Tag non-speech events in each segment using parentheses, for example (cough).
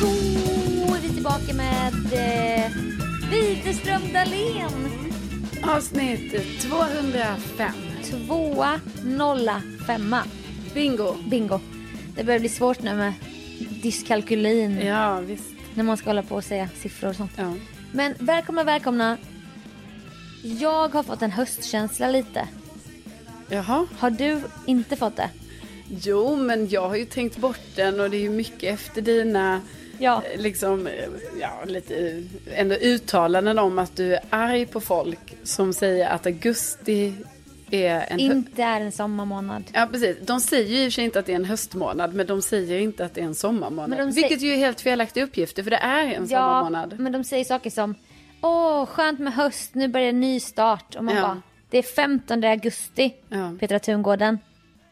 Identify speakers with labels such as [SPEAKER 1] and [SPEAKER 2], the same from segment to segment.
[SPEAKER 1] Då är vi tillbaka med eh, Widerström Dahlén.
[SPEAKER 2] Avsnitt 205.
[SPEAKER 1] Tvåa, nolla, femma.
[SPEAKER 2] Bingo.
[SPEAKER 1] Bingo. Det börjar bli svårt nu med dyskalkylin.
[SPEAKER 2] Ja, visst.
[SPEAKER 1] När man ska hålla på och säga siffror och sånt.
[SPEAKER 2] Ja.
[SPEAKER 1] Men välkomna, välkomna. Jag har fått en höstkänsla lite.
[SPEAKER 2] Jaha.
[SPEAKER 1] Har du inte fått det?
[SPEAKER 2] Jo, men jag har ju tänkt bort den och det är ju mycket efter dina
[SPEAKER 1] Ja.
[SPEAKER 2] eh, liksom, eh, ja, lite eh, ändå uttalanden om att du är arg på folk som säger att augusti är en hö-
[SPEAKER 1] Inte är en sommarmånad.
[SPEAKER 2] Ja, precis. De säger ju i och för sig inte att det är en höstmånad, men de säger inte att det är en sommarmånad.
[SPEAKER 1] Men de säger-
[SPEAKER 2] Vilket ju är helt felaktiga uppgifter, för det är en
[SPEAKER 1] Ja,
[SPEAKER 2] sommarmånad.
[SPEAKER 1] men de säger saker som Åh, skönt med höst, nu börjar en ny start. Och man
[SPEAKER 2] Ja.
[SPEAKER 1] bara, det är 15 augusti,
[SPEAKER 2] Ja.
[SPEAKER 1] Petra Tungården.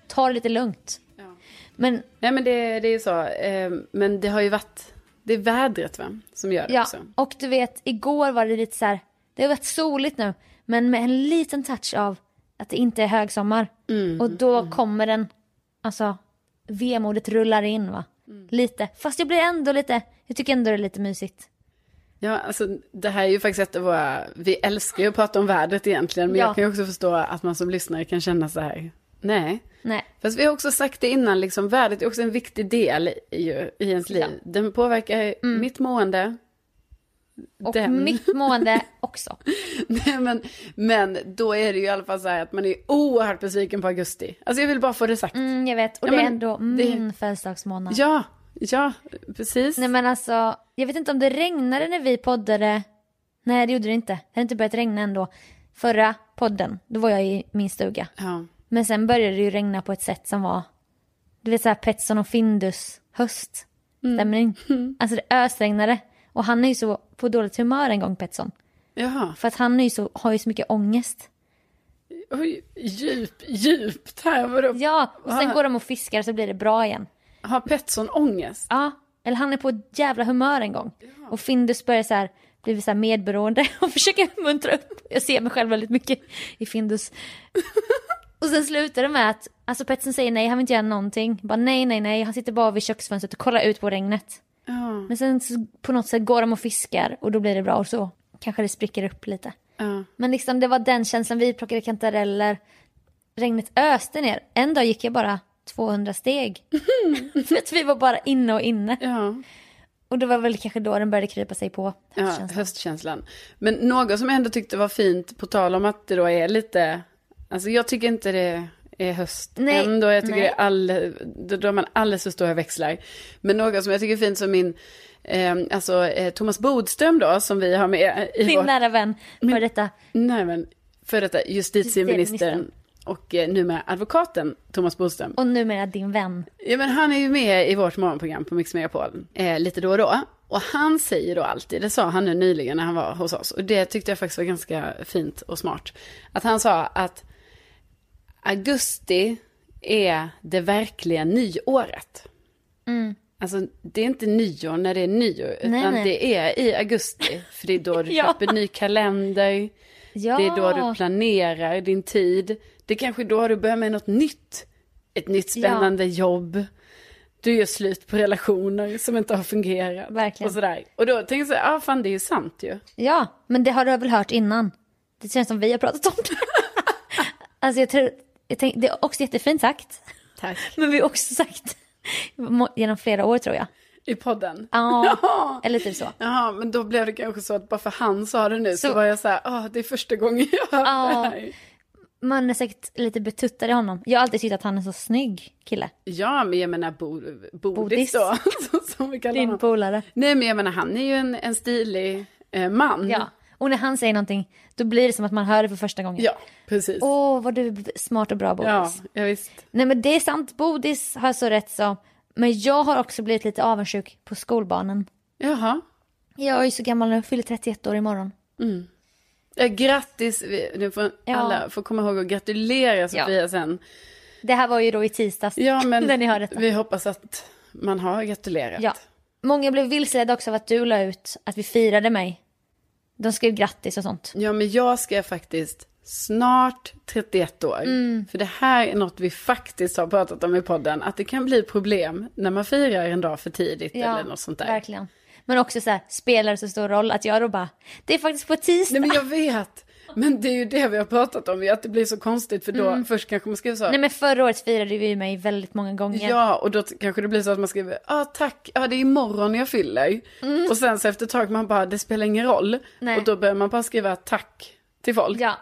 [SPEAKER 1] Ta det lite lugnt.
[SPEAKER 2] Ja.
[SPEAKER 1] Men
[SPEAKER 2] Nej, men det, det är ju så. Eh, Men det har ju varit... Det är vädret, va? Som gör det
[SPEAKER 1] ja,
[SPEAKER 2] också.
[SPEAKER 1] och du vet, igår var det lite så här, det har varit soligt nu, men med en liten touch av att det inte är högsommar.
[SPEAKER 2] Mm.
[SPEAKER 1] och då kommer den, alltså vemodet rullar in va.
[SPEAKER 2] Mm.
[SPEAKER 1] Lite, fast jag blir ändå lite, jag tycker ändå det är lite mysigt.
[SPEAKER 2] Ja, alltså det här är ju faktiskt ett av våra, vi älskar ju att prata om vädret egentligen, men
[SPEAKER 1] Ja.
[SPEAKER 2] jag kan ju också förstå att man som lyssnare kan känna så här, nej.
[SPEAKER 1] Nej,
[SPEAKER 2] Fast vi har också sagt det innan, liksom vädret är också en viktig del i, i i ens liv. Den påverkar
[SPEAKER 1] Mm.
[SPEAKER 2] mitt mående. (laughs)
[SPEAKER 1] och
[SPEAKER 2] Den.
[SPEAKER 1] mitt
[SPEAKER 2] (laughs)
[SPEAKER 1] mående också.
[SPEAKER 2] Nej, men, men då är det ju i alla fall så här att man är oerhört besviken på augusti. Alltså jag vill bara få det sagt.
[SPEAKER 1] Mm, jag vet, och
[SPEAKER 2] Ja,
[SPEAKER 1] det är
[SPEAKER 2] men
[SPEAKER 1] ändå
[SPEAKER 2] det-
[SPEAKER 1] min födelsedagsmånad.
[SPEAKER 2] Ja, ja, precis.
[SPEAKER 1] Nej men alltså, jag vet inte om det regnade när vi poddade. Nej det gjorde det inte. Det hade inte börjat regna ändå. Förra podden, då var jag i min stuga.
[SPEAKER 2] Ja.
[SPEAKER 1] Men sen började det ju regna på ett sätt som var, du vet såhär Petson och Findus höst.
[SPEAKER 2] Mm.
[SPEAKER 1] Stämmer
[SPEAKER 2] (laughs)
[SPEAKER 1] inte? Alltså det ösregnade. Och han är ju så på dåligt humör en gång Petson.
[SPEAKER 2] Jaha,
[SPEAKER 1] För att han är ju så, har ju så mycket ångest.
[SPEAKER 2] Oj, djup, djupt här. Vadå?
[SPEAKER 1] Ja, och sen
[SPEAKER 2] Ah.
[SPEAKER 1] går de och fiskar så blir det bra igen.
[SPEAKER 2] Har Petson ångest?
[SPEAKER 1] Ja, eller han är på ett jävla humör en gång. Och Findus börjar så här, blir så här medberoende (laughs) och försöker muntra upp. Jag ser mig själv väldigt mycket i Findus. Och sen slutar det med att, alltså Petsen säger nej, han vill inte göra någonting. Bara nej, nej, nej, han sitter bara vid köksfönstret och kollar ut på regnet.
[SPEAKER 2] Ja.
[SPEAKER 1] Men sen så, på något sätt går de och fiskar och då blir det bra och så kanske det spricker upp lite.
[SPEAKER 2] Ja.
[SPEAKER 1] Men liksom det var den känslan, vi plockade kantareller, regnet öste ner. En dag gick jag bara 200 steg. (laughs) För att vi var bara inne och inne.
[SPEAKER 2] Ja,
[SPEAKER 1] Och det var väl kanske då den började krypa sig på
[SPEAKER 2] ja
[SPEAKER 1] höstkänslan.
[SPEAKER 2] höstkänslan. Men något som jag ändå tyckte var fint, på tal om att det då är lite, alltså jag tycker inte det är höst
[SPEAKER 1] Nej,
[SPEAKER 2] ändå, jag tycker
[SPEAKER 1] nej.
[SPEAKER 2] det är all, då drar man alldeles för stora växlar. Men något som jag tycker är fint som min, eh, alltså eh, Thomas Bodström då, som vi har med i
[SPEAKER 1] Din
[SPEAKER 2] vårt
[SPEAKER 1] nära vän, för detta.
[SPEAKER 2] Nej, men för detta justitieministern
[SPEAKER 1] Justitieministern.
[SPEAKER 2] och eh, numera advokaten Thomas Bodström.
[SPEAKER 1] Och numera din vän.
[SPEAKER 2] Ja, men han är ju med i vårt morgonprogram på Mix Megapol eh, lite då och då. Och han säger då alltid, det sa han nu nyligen när han var hos oss, och det tyckte jag faktiskt var ganska fint och smart. Att han sa att augusti är det verkliga nyåret. Alltså det är inte nyår när det är nyår, utan
[SPEAKER 1] Mm. Nej, nej.
[SPEAKER 2] det är i augusti. För det är då
[SPEAKER 1] (laughs)
[SPEAKER 2] du
[SPEAKER 1] Ja.
[SPEAKER 2] köper ny kalender,
[SPEAKER 1] Ja.
[SPEAKER 2] det är då
[SPEAKER 1] Ah.
[SPEAKER 2] du planerar din tid. Det är kanske då du börjar med något nytt. Ett nytt
[SPEAKER 1] Ja.
[SPEAKER 2] spännande jobb. Du gör slut på relationer som inte har fungerat.
[SPEAKER 1] Verkligen.
[SPEAKER 2] Och, sådär. och då tänker jag så här, ah, fan det är ju sant ju.
[SPEAKER 1] Ja, men det har du väl hört innan? Det känns som vi har pratat om
[SPEAKER 2] (laughs)
[SPEAKER 1] det. alltså jag tror, jag tänk, det är också jättefint sagt.
[SPEAKER 2] Tack.
[SPEAKER 1] Men vi har också sagt må- genom flera år tror jag.
[SPEAKER 2] I podden.
[SPEAKER 1] Ja, eller typ så.
[SPEAKER 2] (laughs) Jaha, men då blev det kanske så att bara för han sa det nu så,
[SPEAKER 1] Så-
[SPEAKER 2] var jag så här, ah, det är första gången jag hör
[SPEAKER 1] Ja.
[SPEAKER 2] det här.
[SPEAKER 1] Man är säkert lite betuttad i honom. Jag har alltid tyckt att han är så snygg kille.
[SPEAKER 2] Ja, men jag menar bo, Bodis
[SPEAKER 1] Bodis.
[SPEAKER 2] då, (laughs) som vi kallar
[SPEAKER 1] Din
[SPEAKER 2] honom.
[SPEAKER 1] polare.
[SPEAKER 2] Nej, men jag menar han är ju en, en stilig eh, man.
[SPEAKER 1] Ja. Och när han säger någonting, då blir det som att man hör det för första gången.
[SPEAKER 2] ja precis.
[SPEAKER 1] Åh, vad du är smart och bra Bodis.
[SPEAKER 2] ja, ja, visst.
[SPEAKER 1] Nej men det är sant, Bodis har så rätt så. Men jag har också blivit lite avundsjuk på skolbarnen.
[SPEAKER 2] Jaha.
[SPEAKER 1] Jag är ju så gammal nu, fyller 31 år imorgon.
[SPEAKER 2] Ja, grattis, Vi- nu får
[SPEAKER 1] Ja.
[SPEAKER 2] alla får komma ihåg att gratulera Sofia sen.
[SPEAKER 1] Det här var ju då i tisdags, (laughs)
[SPEAKER 2] Ja, men
[SPEAKER 1] när ni hör detta.
[SPEAKER 2] vi hoppas att man har gratulerat.
[SPEAKER 1] Ja. Många blev vilseledda också av att du la ut att vi firade mig. De skrev grattis och sånt.
[SPEAKER 2] Ja, men jag ska faktiskt snart 31 år.
[SPEAKER 1] Mm.
[SPEAKER 2] För det här är något vi faktiskt har pratat om i podden, att det kan bli problem när man firar en dag för tidigt eller något sånt där.
[SPEAKER 1] verkligen. Men också så här, spelar det så stor roll att jag då bara, det är faktiskt på tisdag.
[SPEAKER 2] Nej, men jag vet. Men det är ju det vi har pratat om, ju, att det blir så konstigt för då först kanske man skriver så.
[SPEAKER 1] Mm. Nej men förra året firade vi ju mig väldigt många gånger.
[SPEAKER 2] Ja, och då t- kanske det blir så att man skriver, ja ah, tack, ja det är imorgon jag fyller. Och sen så efter ett tag man bara, det spelar ingen roll.
[SPEAKER 1] Mm. Nej.
[SPEAKER 2] Och då börjar man bara skriva tack till folk.
[SPEAKER 1] Ja,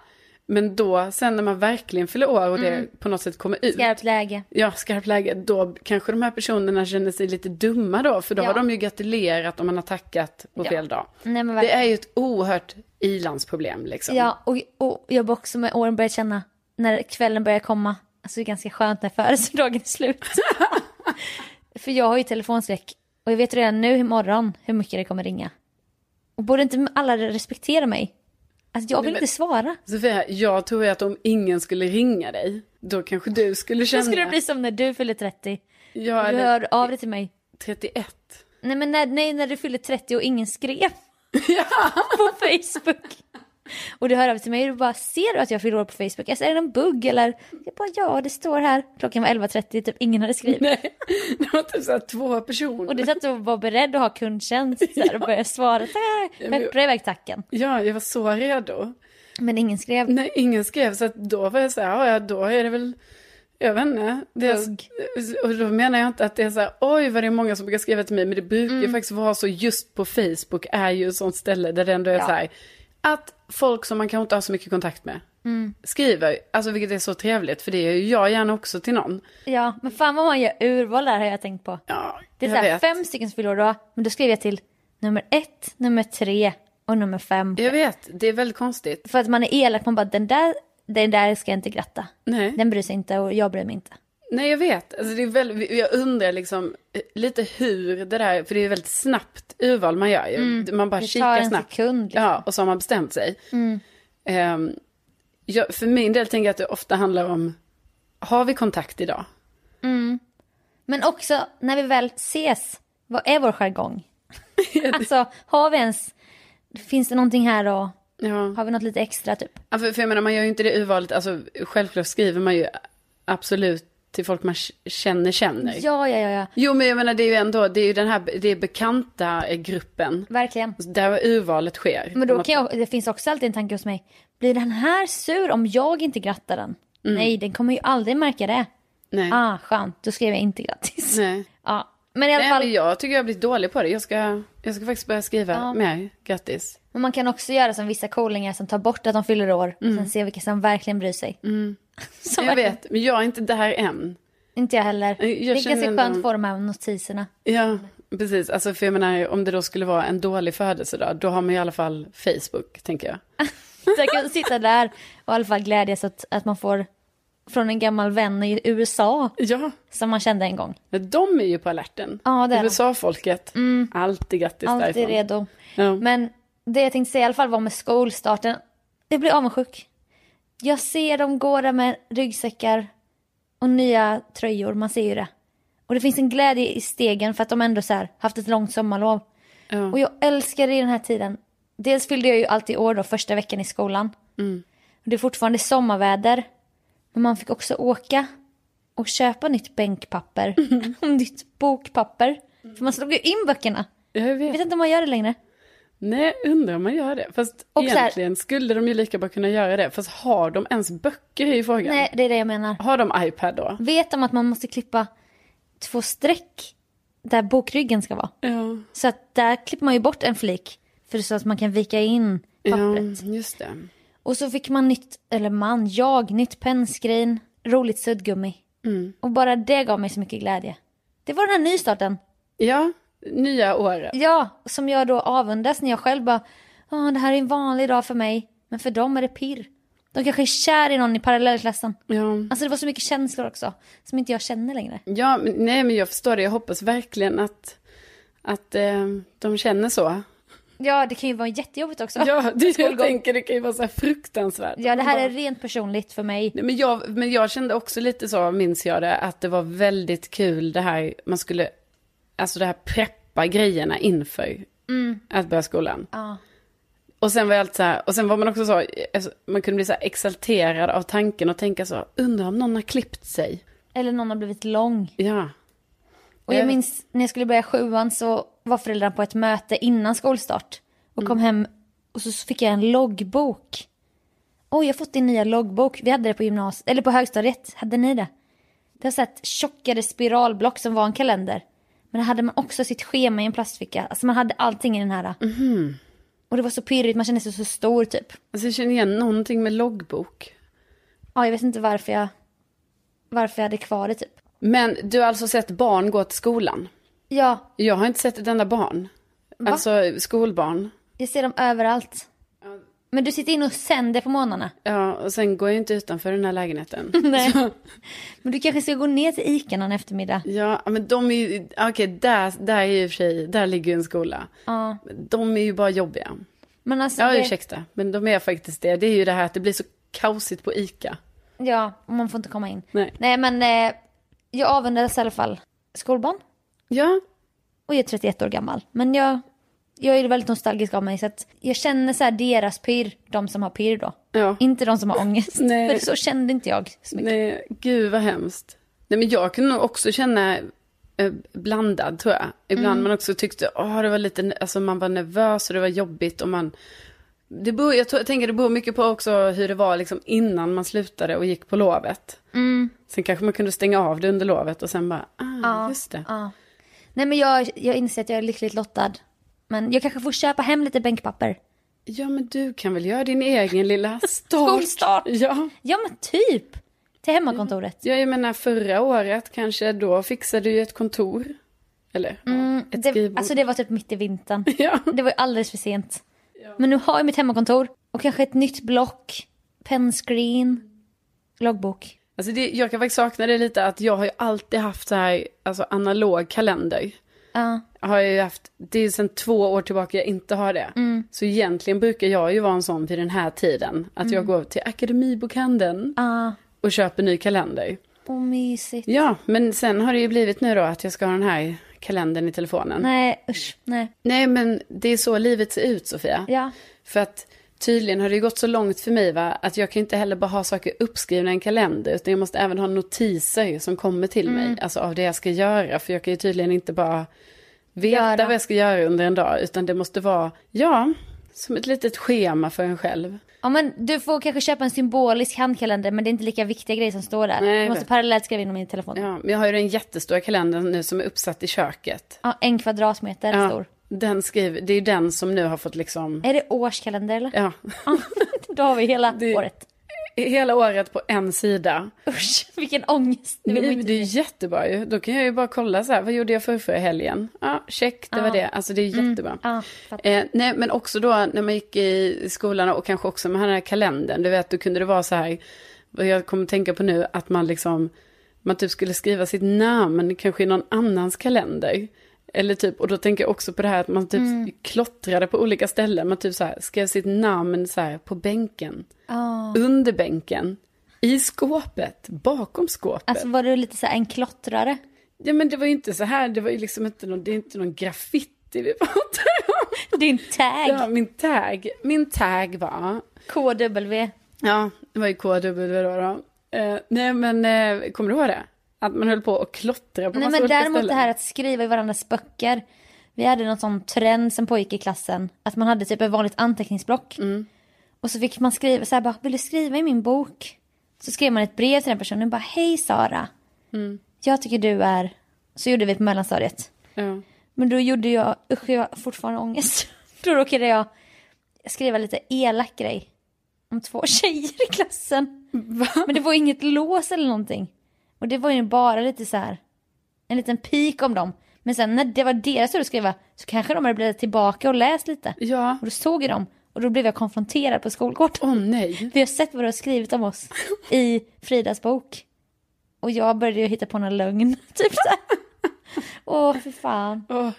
[SPEAKER 1] Mm.
[SPEAKER 2] Men då, sen när man verkligen fyller år och det på något sätt kommer ut,
[SPEAKER 1] skarpt läge.
[SPEAKER 2] ja skarpt läge, då kanske de här personerna känner sig lite dumma då, för då
[SPEAKER 1] Ja.
[SPEAKER 2] har de ju gratulerat om man har tackat på
[SPEAKER 1] Ja.
[SPEAKER 2] fel dag.
[SPEAKER 1] Nej, men
[SPEAKER 2] det
[SPEAKER 1] verkligen.
[SPEAKER 2] är ju ett oerhört ilandsproblem liksom.
[SPEAKER 1] Ja, och, och jag har också med åren börjat känna, när kvällen börjar komma, alltså det är ganska skönt när födelsedagen är
[SPEAKER 2] (laughs)
[SPEAKER 1] slut. För jag har ju telefonskräck och jag vet redan nu imorgon hur mycket det kommer ringa. Och borde inte alla respektera mig? Alltså jag vill inte svara.
[SPEAKER 2] Sofia, jag tror ju att om ingen skulle ringa dig, då kanske du skulle
[SPEAKER 1] Då
[SPEAKER 2] känna...
[SPEAKER 1] skulle det bli som när du fyller 30.
[SPEAKER 2] Ja,
[SPEAKER 1] Du
[SPEAKER 2] eller-
[SPEAKER 1] hör av dig till mig.
[SPEAKER 2] 31.
[SPEAKER 1] Nej men när, nej, när du fyllde 30 och ingen
[SPEAKER 2] (laughs)
[SPEAKER 1] skrev (laughs) på Facebook. Och du hör av dig till mig och du bara ser du att jag fyller år på Facebook? Alltså är det en bugg eller? Jag bara ja det står här. Klockan var 11.30 typ ingen hade skrivit.
[SPEAKER 2] Nej, (laughs) det var typ såhär två personer.
[SPEAKER 1] Och du satt och var beredd att ha kundtjänst så här, och började svara.
[SPEAKER 2] Ja, men-
[SPEAKER 1] Peppra iväg tacken.
[SPEAKER 2] Ja, jag var så redo.
[SPEAKER 1] Men ingen skrev.
[SPEAKER 2] Nej, ingen skrev så att då var jag så här, "Ja, ja då är det väl, jag vet inte. Det är,
[SPEAKER 1] Hugg.
[SPEAKER 2] och då menar jag inte att det är så här, oj vad det är många som brukar skriva till mig, men det brukar
[SPEAKER 1] Mm.
[SPEAKER 2] ju faktiskt vara så just på Facebook är ju ett sånt ställe där det ändå är så här, att folk som man kanske inte har så mycket kontakt med
[SPEAKER 1] Mm.
[SPEAKER 2] skriver, alltså vilket är så trevligt, för det är ju jag gärna också till någon.
[SPEAKER 1] Ja men fan vad man gör urval där har jag tänkt på.
[SPEAKER 2] Ja,
[SPEAKER 1] Det är
[SPEAKER 2] jag
[SPEAKER 1] så här,
[SPEAKER 2] vet.
[SPEAKER 1] fem stycken som fyller år då. Men då skrev jag till nummer ett, nummer tre och nummer fem.
[SPEAKER 2] Jag vet, det är väldigt konstigt.
[SPEAKER 1] För att man är elak, man bara den där, den där ska jag inte gratta.
[SPEAKER 2] Nej.
[SPEAKER 1] Den bryr sig inte och jag bryr mig inte.
[SPEAKER 2] Nej, jag vet. Alltså, det är väldigt, jag undrar liksom eh, lite hur det där, för det är väldigt snabbt urval man gör. ju. Man bara
[SPEAKER 1] Mm. Det tar
[SPEAKER 2] kikar
[SPEAKER 1] en
[SPEAKER 2] snabbt.
[SPEAKER 1] sekund, liksom. Mm.
[SPEAKER 2] Ja, och så har man bestämt sig. Ehm, jag, för min del tänker jag att det ofta handlar om, har vi kontakt idag?
[SPEAKER 1] Men också när vi väl ses, vad är vår jargong?
[SPEAKER 2] (laughs)
[SPEAKER 1] alltså har vi ens, finns det någonting här och
[SPEAKER 2] Ja.
[SPEAKER 1] har vi något lite extra typ?
[SPEAKER 2] Ja, För, för jag menar, man gör ju inte det urvalet, alltså självklart skriver man ju absolut till folk man k- känner känner.
[SPEAKER 1] Ja, ja, ja, ja.
[SPEAKER 2] Jo, men jag menar det är ju ändå, det är ju den här, det är bekanta eh, gruppen.
[SPEAKER 1] verkligen.
[SPEAKER 2] Där urvalet sker.
[SPEAKER 1] Men då kan jag, det finns också alltid en tanke hos mig, blir den här sur om jag inte grattar den?
[SPEAKER 2] Mm.
[SPEAKER 1] Nej, den kommer ju aldrig märka det.
[SPEAKER 2] Nej.
[SPEAKER 1] Ah, skönt, då skrev jag inte grattis.
[SPEAKER 2] (laughs) Nej.
[SPEAKER 1] Ja. Men i alla
[SPEAKER 2] Nej,
[SPEAKER 1] fall,
[SPEAKER 2] men jag tycker jag har blivit dålig på det. Jag ska, jag ska faktiskt börja skriva mer. Grattis.
[SPEAKER 1] Men man kan också göra som vissa coolingar som tar bort att de fyller år och sen se vilka som verkligen bryr sig. (laughs) som
[SPEAKER 2] Mm. Jag
[SPEAKER 1] verkligen-
[SPEAKER 2] vet, men jag är inte där än.
[SPEAKER 1] Inte jag heller. det är
[SPEAKER 2] känner
[SPEAKER 1] ganska
[SPEAKER 2] ändå-
[SPEAKER 1] skönt att få de här notiserna.
[SPEAKER 2] Ja, precis. Alltså, för jag menar, om det då skulle vara en dålig födelsedag, då har man i alla fall Facebook, tänker jag.
[SPEAKER 1] (laughs) Så jag kan sitta där och i alla fall glädjas åt att man får från en gammal vän i USA
[SPEAKER 2] Ja,
[SPEAKER 1] som man kände en gång.
[SPEAKER 2] men de är ju på alerten.
[SPEAKER 1] Ja, det är de. Mm.
[SPEAKER 2] USA-folket. Alltid grattis
[SPEAKER 1] Alltid
[SPEAKER 2] därifrån.
[SPEAKER 1] redo.
[SPEAKER 2] Ja.
[SPEAKER 1] Men det jag tänkte säga i alla fall var med skolstarten. Jag blir avundsjuk. Jag ser dem gå där med ryggsäckar och nya tröjor, man ser ju det. Och det finns en glädje i stegen för att de ändå så här, haft ett långt sommarlov. Och jag älskar det i den här tiden. Dels fyllde jag ju alltid år då, första veckan i skolan. Och det är fortfarande sommarväder. Men man fick också åka och köpa nytt bänkpapper (laughs) och nytt bokpapper. För man slog ju in böckerna.
[SPEAKER 2] Jag vet.
[SPEAKER 1] Jag vet inte om man gör det längre.
[SPEAKER 2] Nej, undrar om man gör det. Fast
[SPEAKER 1] Och så här-
[SPEAKER 2] egentligen skulle de ju lika bra kunna göra det. Fast har de ens böcker i frågan?
[SPEAKER 1] Nej, det är det jag menar.
[SPEAKER 2] Har de iPad då?
[SPEAKER 1] Vet de att man måste klippa två streck där bokryggen ska vara?
[SPEAKER 2] Ja,
[SPEAKER 1] Så att där klipper man ju bort en flik för så att man kan vika in
[SPEAKER 2] ja
[SPEAKER 1] pappret.
[SPEAKER 2] just det.
[SPEAKER 1] Och så fick man nytt, eller man, jag, nytt pennskrin, roligt suddgummi. Och bara det gav mig så mycket glädje. Det var den här nystarten.
[SPEAKER 2] Ja, nya året.
[SPEAKER 1] Ja, som jag då avundas när jag själv bara, Åh, det här är en vanlig dag för mig. Men för dem är det pirr. De kanske är kär i någon i parallellklassen.
[SPEAKER 2] Ja.
[SPEAKER 1] Alltså det var så mycket känslor också, som inte jag känner längre.
[SPEAKER 2] Ja, men, nej men jag förstår det. Jag hoppas verkligen att, att eh, de
[SPEAKER 1] (laughs)
[SPEAKER 2] känner så.
[SPEAKER 1] Ja, det kan ju vara jättejobbigt också.
[SPEAKER 2] Ja, det, jag
[SPEAKER 1] Skolgång.
[SPEAKER 2] tänker det kan ju vara så här fruktansvärt.
[SPEAKER 1] Ja, det här är rent personligt för mig.
[SPEAKER 2] Nej, men, jag, men jag kände också lite så, minns jag det, att det var väldigt kul det här, man skulle, alltså det här preppa grejerna inför
[SPEAKER 1] Mm.
[SPEAKER 2] att börja skolan. Och sen var jag alltid så här, och sen var man också så, alltså, man kunde bli så här exalterad av tanken och tänka så, undrar om någon har klippt sig.
[SPEAKER 1] Eller någon har blivit lång.
[SPEAKER 2] Ja.
[SPEAKER 1] Och jag minns när jag skulle börja sjuan så var föräldrarna på ett möte innan skolstart. Och kom hem och så fick jag en loggbok. Oj, jag har fått din nya loggbok. Vi hade det på gymnasiet, eller på högstadiet. Hade ni det? Det var så här ett tjockare spiralblock som var en kalender. Men där hade man också sitt schema i en plastficka. Alltså man hade allting i den här. Och det var så pirrigt, man kände sig så stor typ.
[SPEAKER 2] Alltså jag känner igen någonting med loggbok.
[SPEAKER 1] Ja, jag vet inte varför jag, varför jag hade kvar det typ.
[SPEAKER 2] Men du har alltså sett barn gå till skolan?
[SPEAKER 1] Ja,
[SPEAKER 2] Jag har inte sett ett enda barn. Alltså skolbarn.
[SPEAKER 1] Jag ser dem överallt. Men du sitter inne och sänder på morgnarna.
[SPEAKER 2] Ja, och sen går jag inte utanför den här lägenheten.
[SPEAKER 1] Nej. (laughs) Men du kanske ska gå ner till Ica någon eftermiddag.
[SPEAKER 2] Ja, men de är ju, okej, där, där är ju i och för sig, där ligger ju en skola. De är ju bara jobbiga.
[SPEAKER 1] Men alltså,
[SPEAKER 2] Ja,
[SPEAKER 1] det-
[SPEAKER 2] ursäkta, men de är faktiskt det. Det är ju det här att det blir så kaosigt på ICA.
[SPEAKER 1] ja, och man får inte komma in.
[SPEAKER 2] Nej.
[SPEAKER 1] men eh, jag avundades i alla fall skolbarn.
[SPEAKER 2] Ja,
[SPEAKER 1] Och jag är 31 år gammal. Men jag, jag är väldigt nostalgisk av mig. Så att jag känner så här deras pirr, de som har pirr då.
[SPEAKER 2] Ja.
[SPEAKER 1] Inte de som har ångest.
[SPEAKER 2] Nej.
[SPEAKER 1] För så kände inte jag så mycket.
[SPEAKER 2] nej, gud vad hemskt. Nej, men jag kunde nog också känna eh, blandad, tror jag. Ibland
[SPEAKER 1] Mm.
[SPEAKER 2] man också tyckte, åh, det var lite, alltså man var nervös och det var jobbigt och man... Det beror, jag, tror, jag tänker det beror mycket på också hur det var liksom innan man slutade och gick på lovet.
[SPEAKER 1] Mm.
[SPEAKER 2] Sen kanske man kunde stänga av det under lovet och sen bara, ah, just det.
[SPEAKER 1] Nej men jag, jag inser att jag är lyckligt lottad. Men jag kanske får köpa hem lite bänkpapper.
[SPEAKER 2] Ja, men du kan väl göra din
[SPEAKER 1] (laughs)
[SPEAKER 2] egen lilla start.
[SPEAKER 1] Skolstart.
[SPEAKER 2] Ja.
[SPEAKER 1] Ja men typ! Till hemmakontoret.
[SPEAKER 2] ja, jag menar förra året kanske, då fixade du ju ett kontor. Eller ja, Mm. ett
[SPEAKER 1] Det,
[SPEAKER 2] skrivbord.
[SPEAKER 1] alltså det var typ mitt i vintern.
[SPEAKER 2] (laughs) Ja.
[SPEAKER 1] Det var ju alldeles för sent. Men nu har jag mitt hemmakontor och kanske ett nytt block, pennscreen, loggbok.
[SPEAKER 2] Alltså det, jag kan faktiskt sakna det lite, att jag har ju alltid haft så här, alltså analog kalender.
[SPEAKER 1] Ja.
[SPEAKER 2] Har jag ju haft, det är ju sedan två år tillbaka jag inte har det.
[SPEAKER 1] Mm.
[SPEAKER 2] Så egentligen brukar jag ju vara en sån vid den här tiden, att
[SPEAKER 1] Mm.
[SPEAKER 2] jag går till Akademibokhandeln och köper ny kalender.
[SPEAKER 1] Åh mysigt.
[SPEAKER 2] Ja, men sen har det ju blivit nu då att jag ska ha den här kalendern i telefonen.
[SPEAKER 1] Nej usch, nej.
[SPEAKER 2] Nej, men det är så livet ser ut, Sofia.
[SPEAKER 1] Ja.
[SPEAKER 2] För att tydligen har det ju gått så långt för mig, va, att jag kan inte heller bara ha saker uppskrivna i en kalender, utan jag måste även ha notiser som kommer till
[SPEAKER 1] Mm.
[SPEAKER 2] mig, alltså av det jag ska göra, för jag kan ju tydligen inte bara veta
[SPEAKER 1] Göra.
[SPEAKER 2] vad jag ska göra under en dag, utan det måste vara, ja, som ett litet schema för en själv.
[SPEAKER 1] Ja men du får kanske köpa en symbolisk handkalender men det är inte lika viktiga grejer som står där.
[SPEAKER 2] Nej, jag
[SPEAKER 1] du måste
[SPEAKER 2] vet.
[SPEAKER 1] parallellt skriva in dem i telefonen. Ja.
[SPEAKER 2] Ja, men jag har ju den jättestora kalendern nu som är uppsatt i köket.
[SPEAKER 1] en kvadratmeter
[SPEAKER 2] Ja,
[SPEAKER 1] stor.
[SPEAKER 2] Den skriver, det är ju den som nu har fått liksom,
[SPEAKER 1] Är det årskalender eller?
[SPEAKER 2] ja, (laughs)
[SPEAKER 1] Då har vi hela
[SPEAKER 2] Det-
[SPEAKER 1] året.
[SPEAKER 2] hela året på en sida.
[SPEAKER 1] Usch, vilken ångest. Det vill man
[SPEAKER 2] Nej,
[SPEAKER 1] ju
[SPEAKER 2] men
[SPEAKER 1] inte
[SPEAKER 2] det är jättebra ju. Då kan jag ju bara kolla så här, vad gjorde jag för förra helgen? Ja, check, det var det. Alltså det är jättebra.
[SPEAKER 1] ja, fattar.
[SPEAKER 2] eh, nej, men också då när man gick i skolan och kanske också med den här kalendern, du vet, då kunde det vara så här, vad jag kommer tänka på nu, att man liksom, man typ skulle skriva sitt namn kanske i någon annans kalender. Eller typ, och då tänker jag också på det här att man typ klottrade på olika ställen. Man typ så här, skrev sitt namn så här på bänken, under bänken, i skåpet, bakom skåpet.
[SPEAKER 1] Alltså var du lite så här en klottrare?
[SPEAKER 2] Ja men det var ju inte så här, det var ju liksom inte någon, det är inte någon graffiti vi (laughs) pratar om.
[SPEAKER 1] Din tag,
[SPEAKER 2] Ja, min tag, min tag var,
[SPEAKER 1] KW.
[SPEAKER 2] ja det var ju KW då. då. Eh, nej men eh, kommer du ihåg det? Att man höll på och klottra på
[SPEAKER 1] Nej
[SPEAKER 2] massa
[SPEAKER 1] men
[SPEAKER 2] olika
[SPEAKER 1] däremot det
[SPEAKER 2] ställen.
[SPEAKER 1] här att skriva i varandras böcker. Vi hade någon sån trend som pågick i klassen. Att man hade typ ett vanligt anteckningsblock.
[SPEAKER 2] Mm.
[SPEAKER 1] Och så fick man skriva så här bara, vill du skriva i min bok? Så skrev man ett brev till den personen bara, hej Sara.
[SPEAKER 2] Mm.
[SPEAKER 1] Jag tycker du är... Så gjorde vi på mellanstadiet.
[SPEAKER 2] Ja.
[SPEAKER 1] Men då gjorde jag, usch jag har fortfarande ångest. (laughs) Då råkade jag skriva lite elak grej. Om två (laughs) tjejer i klassen. Men det var inget lås eller någonting. Och det var ju bara lite så här. En liten pik om dem. Men sen när det var deras tur att skriva så kanske de hade blivit tillbaka och läst lite.
[SPEAKER 2] Ja,
[SPEAKER 1] Och då såg ju de. Och då blev jag konfronterad på skolgården. (laughs)
[SPEAKER 2] åh nej.
[SPEAKER 1] Vi har sett vad du har skrivit om oss i Fridas bok. Och jag började ju hitta på någon lögn. (laughs) Typ så här. Åh, fy fan.
[SPEAKER 2] Åh,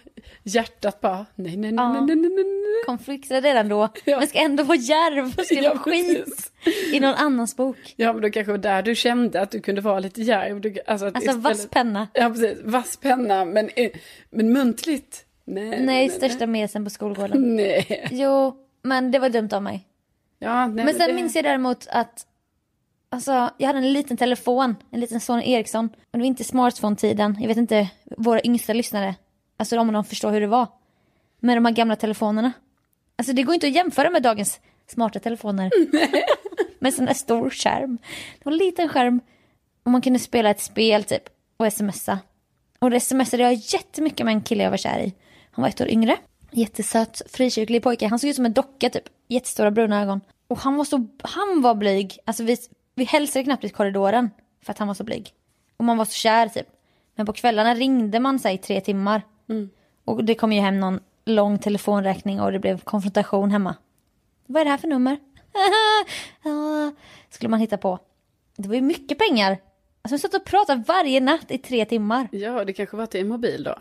[SPEAKER 2] hjärtat bara, nej nej nej
[SPEAKER 1] Ja.
[SPEAKER 2] nej nej nej. nej.
[SPEAKER 1] konfliktad redan då,
[SPEAKER 2] (laughs) Ja.
[SPEAKER 1] men ska ändå vara djärv och skriva
[SPEAKER 2] Ja,
[SPEAKER 1] skit
[SPEAKER 2] precis.
[SPEAKER 1] i någon annans bok.
[SPEAKER 2] Ja men då kanske var där du kände att du kunde vara lite djärv. Du- Alltså, att
[SPEAKER 1] Alltså vass penna.
[SPEAKER 2] Ja precis, vass penna men, eh, men muntligt. Nej, Mm.
[SPEAKER 1] Nej, största mesen på skolgården.
[SPEAKER 2] nej.
[SPEAKER 1] Jo, men det var dumt av mig.
[SPEAKER 2] Ja, nej
[SPEAKER 1] Men sen
[SPEAKER 2] det-
[SPEAKER 1] minns jag däremot att Alltså, jag hade en liten telefon, en liten Sony Ericsson. Och det var inte smartphone-tiden. Jag vet inte våra yngsta lyssnare, alltså om de förstår hur det var. Med de här gamla telefonerna. Alltså det går inte att jämföra med dagens smarta
[SPEAKER 2] (laughs)
[SPEAKER 1] telefoner. med sån där stor skärm. Det var en liten skärm. Och man kunde spela ett spel typ och smsa. Och då smsade jag jättemycket med en kille jag var kär i. Han var ett år yngre. Jättesöt, frikyrklig pojke. Han såg ut som en docka typ. Jättestora bruna ögon. Och han var så, han var blyg. Alltså vi, vi hälsade knappt i korridoren för att han var så blyg. Och man var så kär typ. Men på kvällarna ringde man sig i tre timmar. Och det kom ju hem någon lång telefonräkning och det blev konfrontation hemma. Vad är det här för nummer? (laughs) Ja, Skulle man hitta på. Det var ju mycket pengar. Alltså jag satt och pratade varje natt i tre timmar.
[SPEAKER 2] Ja, det kanske var till en mobil då.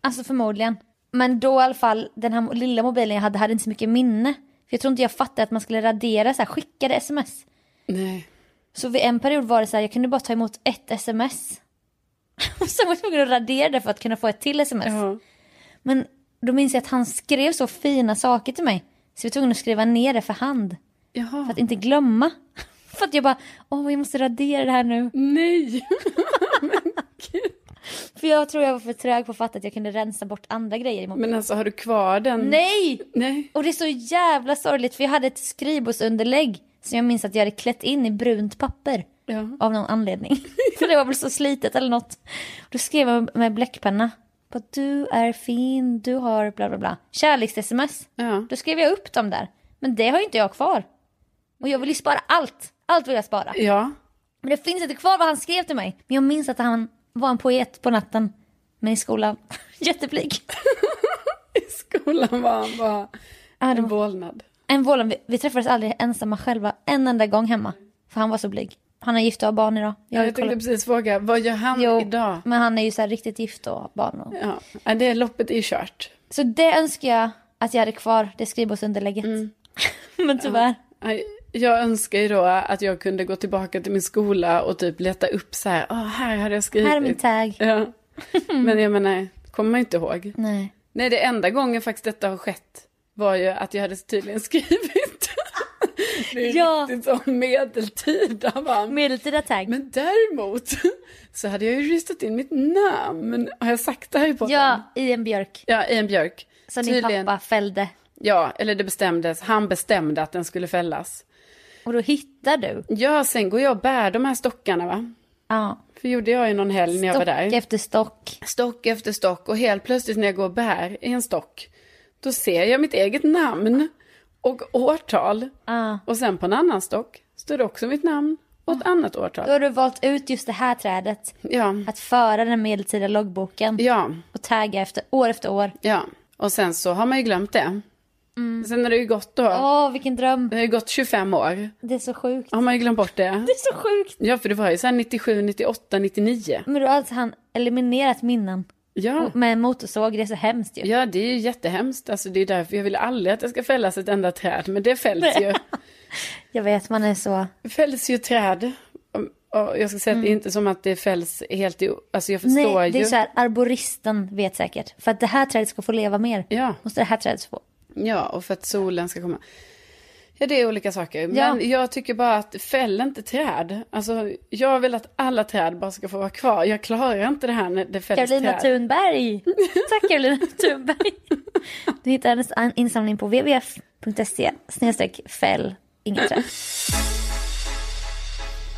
[SPEAKER 1] Alltså förmodligen. Men då i alla fall, den här mo- lilla mobilen jag hade hade inte så mycket minne. För jag tror inte jag fattade att man skulle radera så här, skickade sms.
[SPEAKER 2] Nej.
[SPEAKER 1] Så vid en period var det så här, jag kunde bara ta emot ett sms. (laughs) Och sen var jag tvungen att radera det för att kunna få ett till sms.
[SPEAKER 2] Ja.
[SPEAKER 1] Men då minns jag att han skrev så fina saker till mig. Så jag var tvungen att skriva ner det för hand. För
[SPEAKER 2] Jaha.
[SPEAKER 1] att inte glömma. (laughs) För att jag bara, åh jag måste radera det här nu. (laughs)
[SPEAKER 2] Nej.
[SPEAKER 1] För jag tror jag var för trög på att fatta att jag kunde rensa bort andra grejer i mobilen.
[SPEAKER 2] Men alltså har du kvar den?
[SPEAKER 1] Nej!
[SPEAKER 2] Nej.
[SPEAKER 1] Och det är så jävla sorgligt för jag hade ett skrivbordsunderlägg som jag minns att jag hade klätt in i brunt papper.
[SPEAKER 2] Ja.
[SPEAKER 1] Av någon anledning. (laughs) för det var väl så slitet eller något. Då skrev jag med bläckpenna. Bara, du är fin, du har bla bla bla. Kärleks-sms.
[SPEAKER 2] Ja.
[SPEAKER 1] Då skrev jag upp dem där. Men det har ju inte jag kvar. Och jag vill ju spara allt. Allt vill jag spara.
[SPEAKER 2] Ja.
[SPEAKER 1] Men det finns inte kvar vad han skrev till mig. Men jag minns att han var en poet på natten. Men i skolan, (laughs) jätteblyg.
[SPEAKER 2] I skolan var han bara
[SPEAKER 1] Ja, det
[SPEAKER 2] en
[SPEAKER 1] var-
[SPEAKER 2] vålnad.
[SPEAKER 1] En vålan, vi, vi träffades aldrig ensamma själva en enda gång hemma. För han var så blyg. Han är gift och har barn idag.
[SPEAKER 2] Jag,
[SPEAKER 1] har ju
[SPEAKER 2] jag tänkte
[SPEAKER 1] kollat-
[SPEAKER 2] precis fråga, vad gör han idag?
[SPEAKER 1] men han är ju så här riktigt gift och har barn. Och...
[SPEAKER 2] Ja. ja, det loppet är kört.
[SPEAKER 1] Så det önskar jag att jag hade kvar, det skrivbordsunderlägget.
[SPEAKER 2] Mm.
[SPEAKER 1] (laughs) men tyvärr.
[SPEAKER 2] Nej, Jag önskar ju då att jag kunde gå tillbaka till min skola och typ leta upp så här, "Ah, här hade jag skrivit.
[SPEAKER 1] Här är min tag. (laughs)
[SPEAKER 2] Ja. Men jag menar, kommer man ju inte ihåg.
[SPEAKER 1] Nej.
[SPEAKER 2] Nej, det enda gången faktiskt detta har skett var ju att jag hade tydligen skrivit. (laughs) Det är
[SPEAKER 1] Ja.
[SPEAKER 2] riktigt som medeltida va.
[SPEAKER 1] Medeltida tag.
[SPEAKER 2] Men däremot (laughs) så hade jag ju ristat in mitt namn. Har jag sagt det här i podden?
[SPEAKER 1] Ja, i en björk.
[SPEAKER 2] Ja, i en björk.
[SPEAKER 1] Som din pappa fällde.
[SPEAKER 2] Ja, eller det bestämdes. Han bestämde att den skulle fällas.
[SPEAKER 1] Och då hittar du.
[SPEAKER 2] Ja, sen går jag och bär de här stockarna va.
[SPEAKER 1] Ja.
[SPEAKER 2] För gjorde jag ju någon helg när jag var
[SPEAKER 1] Stock
[SPEAKER 2] där.
[SPEAKER 1] efter stock.
[SPEAKER 2] stock efter stock och helt plötsligt när jag går och bär i en stock, då ser jag mitt eget namn och årtal. Och sen på en annan stock står det också mitt namn och ett annat
[SPEAKER 1] Då
[SPEAKER 2] årtal.
[SPEAKER 1] har du valt ut just det här trädet.
[SPEAKER 2] Ja,
[SPEAKER 1] Att föra den medeltida loggboken.
[SPEAKER 2] ja,
[SPEAKER 1] Och tagga efter, år efter år.
[SPEAKER 2] ja. Och sen så har man ju glömt det. Sen har det ju gått då.
[SPEAKER 1] Åh, vilken dröm.
[SPEAKER 2] Det har ju gått 25 år.
[SPEAKER 1] Det är så sjukt.
[SPEAKER 2] Har man ju glömt bort det.
[SPEAKER 1] Det är så sjukt.
[SPEAKER 2] Ja, för det var ju så här 97, 98, 99.
[SPEAKER 1] Men då har alltså han eliminerat minnen
[SPEAKER 2] Ja.
[SPEAKER 1] Och med en motorsåg. Det är så hemskt ju.
[SPEAKER 2] Ja, det är ju jättehemskt. Alltså, det är därför jag vill aldrig att det ska fällas ett enda träd. Men det fälls ju.
[SPEAKER 1] Jag vet, man är så...
[SPEAKER 2] Det fälls ju träd. Och och jag ska säga att det är inte som att det fälls helt i... Alltså jag förstår
[SPEAKER 1] Mm. Nej, det
[SPEAKER 2] ju.
[SPEAKER 1] är så här, arboristen vet säkert. För att det här trädet ska få leva mer.
[SPEAKER 2] Ja.
[SPEAKER 1] Måste det här trädet få.
[SPEAKER 2] ja, och för att solen ska komma. Ja, det är olika saker.
[SPEAKER 1] Ja.
[SPEAKER 2] Men jag tycker bara att fäll inte träd. Alltså, jag vill att alla träd bara ska få vara kvar. Jag klarar inte det här när det fälls
[SPEAKER 1] Karolina
[SPEAKER 2] träd. (laughs)
[SPEAKER 1] Thunberg! Tack Karolina Thunberg! Du hittar hennes an- insamling på wwf.se snedstreck fäll inget träd.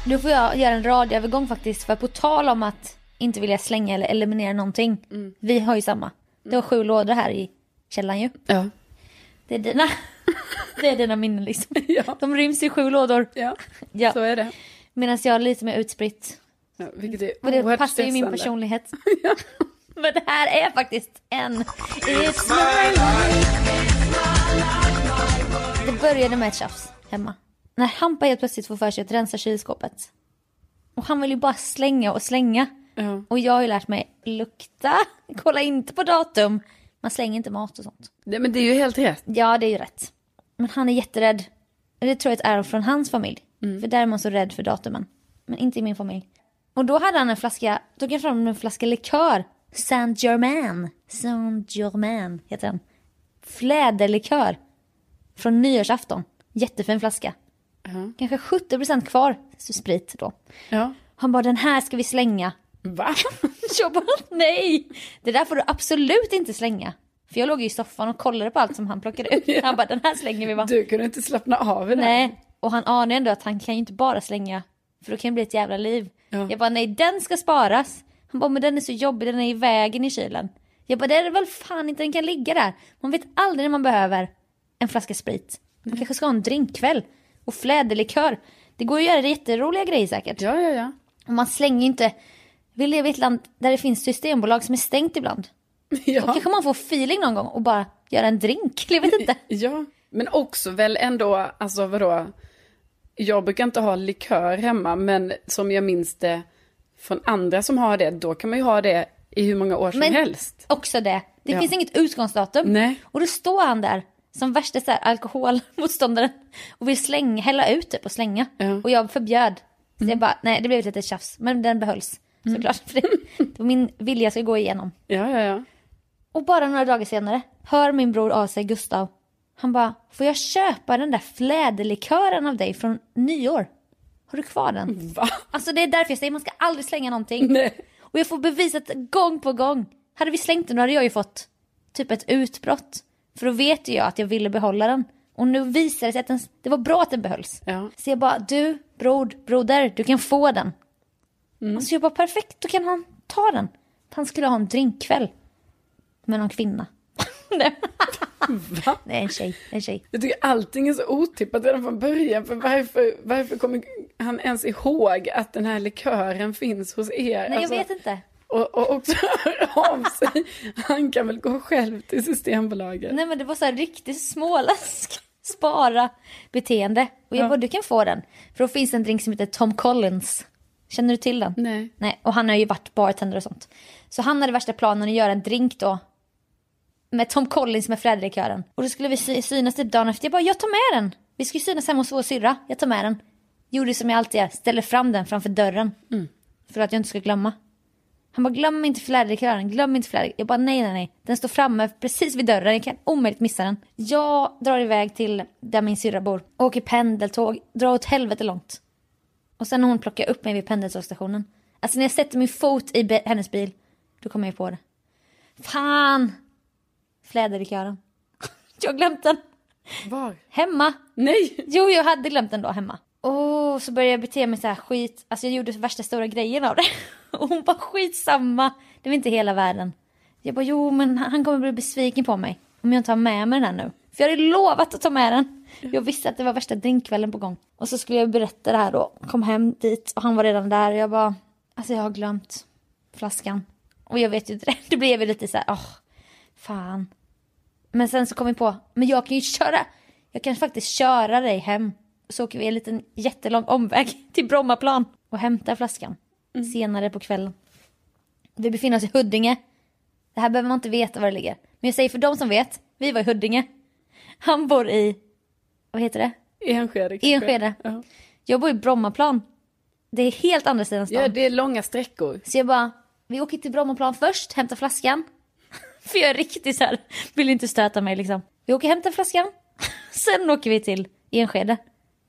[SPEAKER 1] Nu får jag göra en radioövergång faktiskt för på tal om att inte vilja slänga eller eliminera någonting.
[SPEAKER 2] Mm.
[SPEAKER 1] Vi har ju samma. Du har sju lådor här i källaren ju.
[SPEAKER 2] Ja.
[SPEAKER 1] Det är
[SPEAKER 2] (laughs)
[SPEAKER 1] dina, det är dina minnen liksom.
[SPEAKER 2] Ja.
[SPEAKER 1] De ryms i sju lådor.
[SPEAKER 2] Ja.
[SPEAKER 1] Ja.
[SPEAKER 2] så är det.
[SPEAKER 1] Medan jag är lite mer utspritt.
[SPEAKER 2] Ja, vilket är
[SPEAKER 1] Och det
[SPEAKER 2] oerhört
[SPEAKER 1] passar ju min
[SPEAKER 2] stressande.
[SPEAKER 1] personlighet.
[SPEAKER 2] (laughs)
[SPEAKER 1] Men det här är faktiskt en... It's my life. Det började med ett tjafs hemma. När Hampa helt plötsligt får för sig att rensa kylskåpet. Och han vill ju bara slänga och slänga.
[SPEAKER 2] Ja.
[SPEAKER 1] Och jag har ju lärt mig lukta, kolla inte på datum. Man slänger inte mat och sånt.
[SPEAKER 2] Nej, men det är ju helt rätt.
[SPEAKER 1] Ja, det är ju rätt. Men han är jätterädd. Det tror jag är ett arv från hans familj. För där är man så rädd för datumen. Men inte i min familj. Och då hade han en flaska, tog han fram en flaska likör. Saint Germain. Saint Germain heter den. Fläderlikör. Från nyårsafton. Jättefin flaska.
[SPEAKER 2] Ja.
[SPEAKER 1] Kanske 70% kvar så sprit då.
[SPEAKER 2] Ja.
[SPEAKER 1] Han bara den här ska vi slänga.
[SPEAKER 2] Va?
[SPEAKER 1] (laughs) Jag bara nej, det där får du absolut inte slänga. För jag låg ju i soffan och kollade på allt som han plockade ut. Han bara den här slänger vi bara.
[SPEAKER 2] Du kunde inte slappna av i det här.
[SPEAKER 1] Nej, och han anar ändå att han kan ju inte bara slänga. För då kan det bli ett jävla liv.
[SPEAKER 2] Ja.
[SPEAKER 1] Jag bara nej den ska sparas. Han bara men den är så jobbig, den är i vägen i kylen. Jag bara det är väl fan inte, den kan ligga där. Man vet aldrig när man behöver en flaska sprit.
[SPEAKER 2] Mm.
[SPEAKER 1] Man kanske ska ha en drinkkväll. Och fläderlikör. Det går ju att göra jätteroliga grejer säkert.
[SPEAKER 2] Ja, ja, ja. (laughs)
[SPEAKER 1] Och man slänger ju inte... Vi lever i ett land där det finns systembolag som är stängt ibland.
[SPEAKER 2] Ja.
[SPEAKER 1] Kanske man får feeling någon gång och bara göra en drink. Jag (laughs) vet
[SPEAKER 2] (laughs)
[SPEAKER 1] inte.
[SPEAKER 2] ja. Men också väl ändå, alltså vadå? Jag brukar inte ha likör hemma, men som jag minns det från andra som har det, då kan man ju ha det i hur många år som
[SPEAKER 1] Men-
[SPEAKER 2] helst.
[SPEAKER 1] Också det. Det
[SPEAKER 2] Ja.
[SPEAKER 1] finns inget utgångsdatum.
[SPEAKER 2] Nej.
[SPEAKER 1] Och då står han där som värsta så här, alkoholmotståndaren och vill slänga, hälla ut typ och slänga.
[SPEAKER 2] Ja. Mm.
[SPEAKER 1] Och jag förbjöd. Så jag bara, nej det blev ett litet tjafs. Men den behölls såklart. (laughs) För det, det var min vilja ska gå igenom.
[SPEAKER 2] Ja, ja, ja.
[SPEAKER 1] Och bara några dagar senare hör min bror av sig, Gustav. Han bara, får jag köpa den där fläderlikören av dig från nyår? Har du kvar den?
[SPEAKER 2] Va?
[SPEAKER 1] Alltså det är därför jag säger, man ska aldrig slänga någonting.
[SPEAKER 2] Nej.
[SPEAKER 1] Och jag får bevisat gång på gång. Hade vi slängt den då hade jag ju fått typ ett utbrott. För då vet ju jag att jag ville behålla den. Och nu visar det sig att den, det var bra att den behölls.
[SPEAKER 2] Ja.
[SPEAKER 1] Så jag bara, du bror, broder, du kan få den. Och så jag bara, perfekt, då kan han ta den. Han skulle ha en drinkkväll. Med någon kvinna. (laughs) Nej. Nej, en tjej, en tjej.
[SPEAKER 2] Jag tycker allting är så otippat redan från början, för varför, varför kommer han ens ihåg att den här likören finns hos er? Alltså,
[SPEAKER 1] Nej, jag vet inte.
[SPEAKER 2] Och, och också höra av sig. Han kan väl gå själv till Systembolaget.
[SPEAKER 1] Nej men det var så här riktigt småländsk (laughs) spara beteende. Och jag
[SPEAKER 2] Ja.
[SPEAKER 1] bara, du kan få den. För då finns det en drink som heter Tom Collins. Känner du till den?
[SPEAKER 2] Nej.
[SPEAKER 1] Nej, och han har ju varit bartender och sånt. Så han hade värsta planen att göra en drink då. Med Tom Collins med Fredrik-kören. Och då skulle vi sy- synas typ dagen efter. Jag bara, jag tar med den. Vi ska ju synas hemma hos vår syrra. Jag tar med den. Gjorde som jag alltid gör, ställer fram den framför dörren. För att jag inte ska glömma. Han bara, glöm inte fläderkören, glöm inte fläderkören. Jag bara, nej, nej, nej. Den står framme precis vid dörren, jag kan omöjligt missa den. Jag drar iväg till där min syrra bor, åker pendeltåg, drar åt helvete långt. Och sen när hon plockar upp mig vid pendeltågsstationen. Alltså när jag sätter min fot i be- hennes bil, då kommer jag på det. Fan! Fläderkören. (laughs) Jag har glömt den.
[SPEAKER 2] Var?
[SPEAKER 1] Hemma.
[SPEAKER 2] Nej!
[SPEAKER 1] Jo, jag hade glömt den då hemma. Och så började jag bete mig så här skit. Alltså jag gjorde värsta stora grejen av det. (laughs) Och hon bara skitsamma. Det var inte hela världen. Jag bara jo men han han kommer bli besviken på mig. Om jag inte har med mig den här nu. För jag hade lovat att ta med den. Jag visste att det var värsta drinkkvällen på gång. Och så skulle jag berätta det här då. Kom hem dit och han var redan där. Och jag bara alltså jag har glömt (laughs) flaskan. Och jag vet ju inte det. Då blev jag lite så här åh fan. Men sen så kom vi på, men jag kan ju köra. Jag kan faktiskt köra dig hem. Så åker vi en liten jättelång omväg (laughs) till Brommaplan och hämtar flaskan senare på kvällen. Vi befinner oss i Huddinge. Det här behöver man inte veta var det ligger. Men jag säger för de som vet, vi var i Huddinge. Han bor i, vad heter det?
[SPEAKER 2] Enskede kanske.
[SPEAKER 1] Enskede.
[SPEAKER 2] Ja.
[SPEAKER 1] Jag bor i Brommaplan. Det är helt andra sidan stan.
[SPEAKER 2] ja, det är långa sträckor.
[SPEAKER 1] Så jag bara, vi åker till Brommaplan först, hämtar flaskan. (laughs) För jag är riktigt så här, vill inte stöta mig liksom. Vi åker och hämtar flaskan. (laughs) Sen åker vi till Enskede.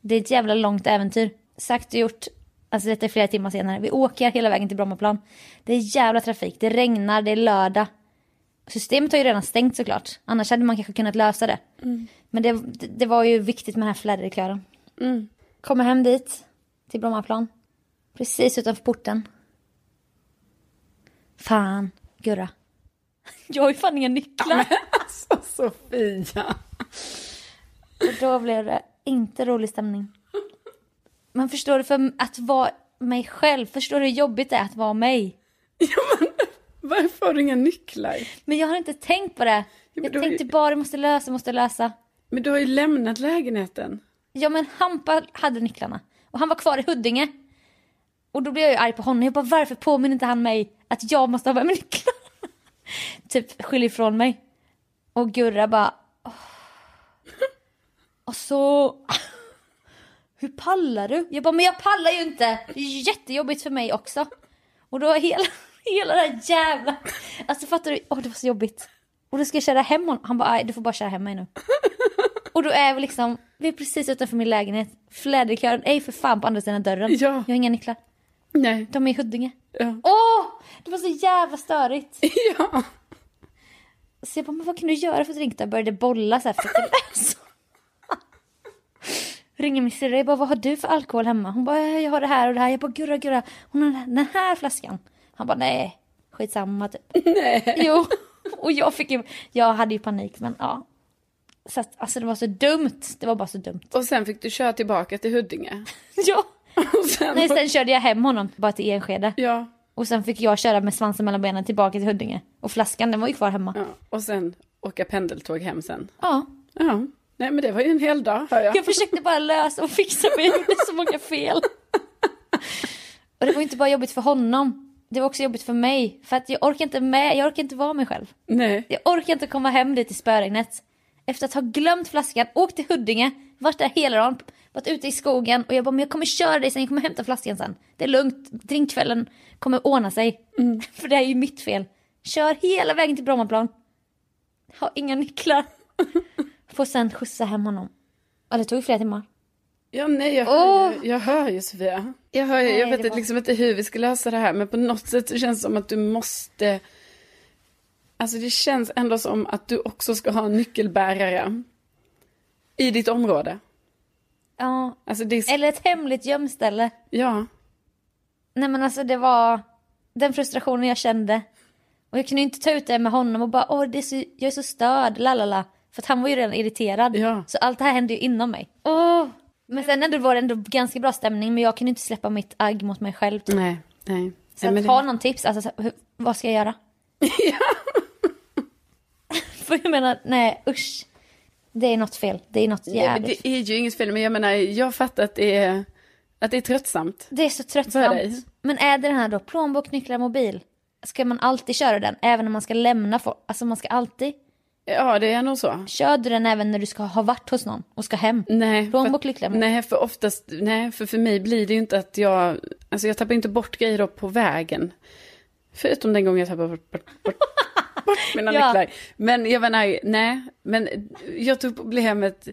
[SPEAKER 1] Det är ett jävla långt äventyr. Sagt och gjort, alltså detta är flera timmar senare. Vi åker hela vägen till Brommaplan. Det är jävla trafik, det regnar, det är lördag. Systemet har ju redan stängt såklart. Annars hade man kanske kunnat lösa det. Men det, det, det var ju viktigt med den här fläderklören. Kommer hem dit, till Brommaplan. Precis utanför porten. Fan, Gurra. (laughs) Jag har ju fan inga nycklar.
[SPEAKER 2] Alltså Sofia.
[SPEAKER 1] Och då blev det inte rolig stämning. Men förstår du, för att vara mig själv, förstår du hur jobbigt det är att vara mig?
[SPEAKER 2] Varför har du inga nycklar?
[SPEAKER 1] Men jag har inte tänkt på det.
[SPEAKER 2] men
[SPEAKER 1] Jag
[SPEAKER 2] då är-
[SPEAKER 1] tänkte bara, jag måste lösa, måste lösa.
[SPEAKER 2] Men du har ju lämnat lägenheten.
[SPEAKER 1] Ja men Hampa hade nycklarna. Och han var kvar i Huddinge. Och då blev jag ju arg på honom. Jag bara, varför påminner inte han mig att jag måste ha med mig nycklarna? (laughs) typ skyll ifrån mig. Och Gurra bara... "Åh." Och så... (laughs) Hur pallar du? Jag bara, men jag pallar ju inte! Det är ju jättejobbigt för mig också. Och då hela, (laughs) hela det här jävla... Alltså fattar du? Åh det var så jobbigt. Och då ska jag köra hem honom. Han bara, "Aj, du får bara köra hem mig nu. Och då är vi liksom, vi är precis utanför min lägenhet. Fläderkören är ju för fan på andra sidan dörren.
[SPEAKER 2] Ja.
[SPEAKER 1] Jag har inga nycklar.
[SPEAKER 2] Nej.
[SPEAKER 1] De är i Huddinge.
[SPEAKER 2] Ja.
[SPEAKER 1] Åh! Det var så jävla störigt.
[SPEAKER 2] (laughs) ja.
[SPEAKER 1] Så jag bara, men vad kan du göra för att ringa? Jag började bolla så här för att läsa. Ringer min syrra, jag bara, vad har du för alkohol hemma? Hon bara, "Eh, jag har det här och det här. Jag bara, gurra gurra, hon har den här- den här flaskan. Han bara, nej, skitsamma typ. Nej. Jo, och jag fick ju, jag hade ju panik men ja. Så att, alltså det var så dumt, det var bara så dumt.
[SPEAKER 2] Och sen fick du köra tillbaka till Huddinge.
[SPEAKER 1] Ja.
[SPEAKER 2] (laughs) Och sen...
[SPEAKER 1] Nej, sen körde jag hem honom bara till Enskede.
[SPEAKER 2] Ja.
[SPEAKER 1] Och sen fick jag köra med svansen mellan benen tillbaka till Huddinge. Och flaskan den var ju kvar hemma.
[SPEAKER 2] ja. Och sen åka pendeltåg hem sen.
[SPEAKER 1] Ja.
[SPEAKER 2] Ja. Nej men det var ju en hel dag hör jag.
[SPEAKER 1] Jag försökte bara lösa och fixa men jag gjorde så många fel. Och det var ju inte bara jobbigt för honom. Det var också jobbigt för mig. För att jag orkar inte med, jag orkar inte vara mig själv.
[SPEAKER 2] Nej.
[SPEAKER 1] Jag orkar inte komma hem dit i spöregnet. Efter att ha glömt flaskan, åkt till Huddinge, varit där hela dagen, varit ute i skogen och jag bara men jag kommer köra dig sen, jag kommer hämta flaskan sen. Det är lugnt, drinkkvällen kommer ordna sig. (laughs) För det är ju mitt fel. Kör hela vägen till Brommaplan. Har inga (laughs) nycklar. Får sen skjutsa hem honom. Ja det tog ju flera timmar.
[SPEAKER 2] Ja, nej, jag, hör ju, jag hör ju Sofia. Jag, hör ju, jag
[SPEAKER 1] det
[SPEAKER 2] vet
[SPEAKER 1] var-
[SPEAKER 2] liksom inte hur vi ska lösa det här, men på något sätt så känns det som att du måste... Alltså det känns ändå som att du också ska ha en nyckelbärare i ditt område.
[SPEAKER 1] Ja.
[SPEAKER 2] Alltså det är...
[SPEAKER 1] Eller ett hemligt gömställe.
[SPEAKER 2] Ja,
[SPEAKER 1] Nej men alltså det var den frustrationen jag kände. Och jag kunde ju inte ta ut det med honom och bara åh det är så, jag är så störd, lalala. För att han var ju redan irriterad.
[SPEAKER 2] Ja.
[SPEAKER 1] Så allt det här hände ju inom mig. Åh. Men sen ändå var det ändå ganska bra stämning men jag kunde inte släppa mitt agg mot mig själv. typ.
[SPEAKER 2] nej, nej.
[SPEAKER 1] Så
[SPEAKER 2] nej,
[SPEAKER 1] att
[SPEAKER 2] men
[SPEAKER 1] ha
[SPEAKER 2] det...
[SPEAKER 1] någon tips, alltså så här, hur, vad ska jag
[SPEAKER 2] (laughs)
[SPEAKER 1] göra? (laughs) För jag menar, nej usch. Det är något fel, det är något
[SPEAKER 2] Nej, men
[SPEAKER 1] jävligt.
[SPEAKER 2] det är ju inget fel, men jag menar, jag fattar att det är, att det är tröttsamt.
[SPEAKER 1] Det är så
[SPEAKER 2] För dig.
[SPEAKER 1] tröttsamt. Men är det den här då, plånbok, nycklar, mobil? Ska man alltid köra den? Även när man ska lämna folk? Alltså man ska alltid?
[SPEAKER 2] Ja, det är nog så.
[SPEAKER 1] Kör du den även när du ska ha varit hos någon och ska hem?
[SPEAKER 2] Nej,
[SPEAKER 1] Plånbok,
[SPEAKER 2] för,
[SPEAKER 1] nycklar, mobil?
[SPEAKER 2] nej, för oftast, nej, för för mig blir det ju inte att jag, alltså jag tappar inte bort grejer då på vägen. Förutom den gången jag tappade bort, bort, bort,
[SPEAKER 1] (laughs)
[SPEAKER 2] bort mina
[SPEAKER 1] Ja.
[SPEAKER 2] nycklar. Men jag var nej, nej, men jag tog problemet,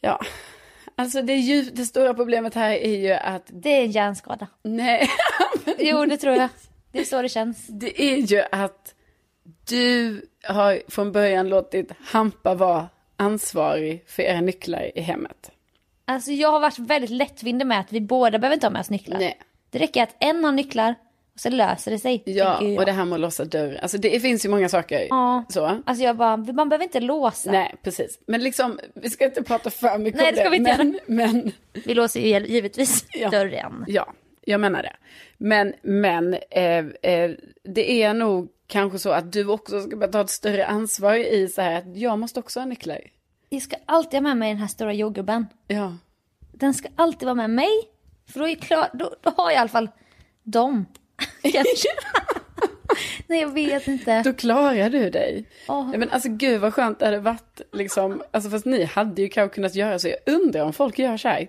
[SPEAKER 2] ja, alltså det, djup, det stora problemet här är ju att,
[SPEAKER 1] Det är en
[SPEAKER 2] (laughs)
[SPEAKER 1] hjärnskada.
[SPEAKER 2] nej,
[SPEAKER 1] Jo, det tror jag. Det är så det känns.
[SPEAKER 2] det är ju att du har från början låtit Hampa vara ansvarig för era nycklar i hemmet.
[SPEAKER 1] Alltså jag har varit väldigt lättvindig med att vi båda behöver inte ha med oss nycklar.
[SPEAKER 2] Nej.
[SPEAKER 1] Det räcker att en har nycklar och så löser det sig.
[SPEAKER 2] Ja,
[SPEAKER 1] tänker jag.
[SPEAKER 2] och det här med att låsa dörr. Alltså det finns ju många saker.
[SPEAKER 1] Ja.
[SPEAKER 2] Så.
[SPEAKER 1] Alltså jag bara, man behöver inte låsa.
[SPEAKER 2] Nej, precis. Men liksom, vi ska inte prata för mycket
[SPEAKER 1] Nej,
[SPEAKER 2] om
[SPEAKER 1] det ska vi inte
[SPEAKER 2] men, men
[SPEAKER 1] Vi låser ju givetvis
[SPEAKER 2] Ja.
[SPEAKER 1] dörren.
[SPEAKER 2] ja, jag menar det. Men, men eh, eh, det är nog kanske så att du också ska börja ta ett större ansvar i så här att jag måste också ha nycklar.
[SPEAKER 1] Jag ska alltid ha med mig den här stora jordgubben.
[SPEAKER 2] Ja.
[SPEAKER 1] Den ska alltid vara med mig. För då, är jag klar, då, då har jag i alla fall
[SPEAKER 2] (laughs)
[SPEAKER 1] dem. Kanske. (laughs) Nej, jag vet inte.
[SPEAKER 2] Då klarar du dig.
[SPEAKER 1] Ja.
[SPEAKER 2] Nej, men alltså gud vad skönt det hade varit liksom. Alltså fast ni hade ju kanske kunnat göra så. Jag undrar om folk gör så här.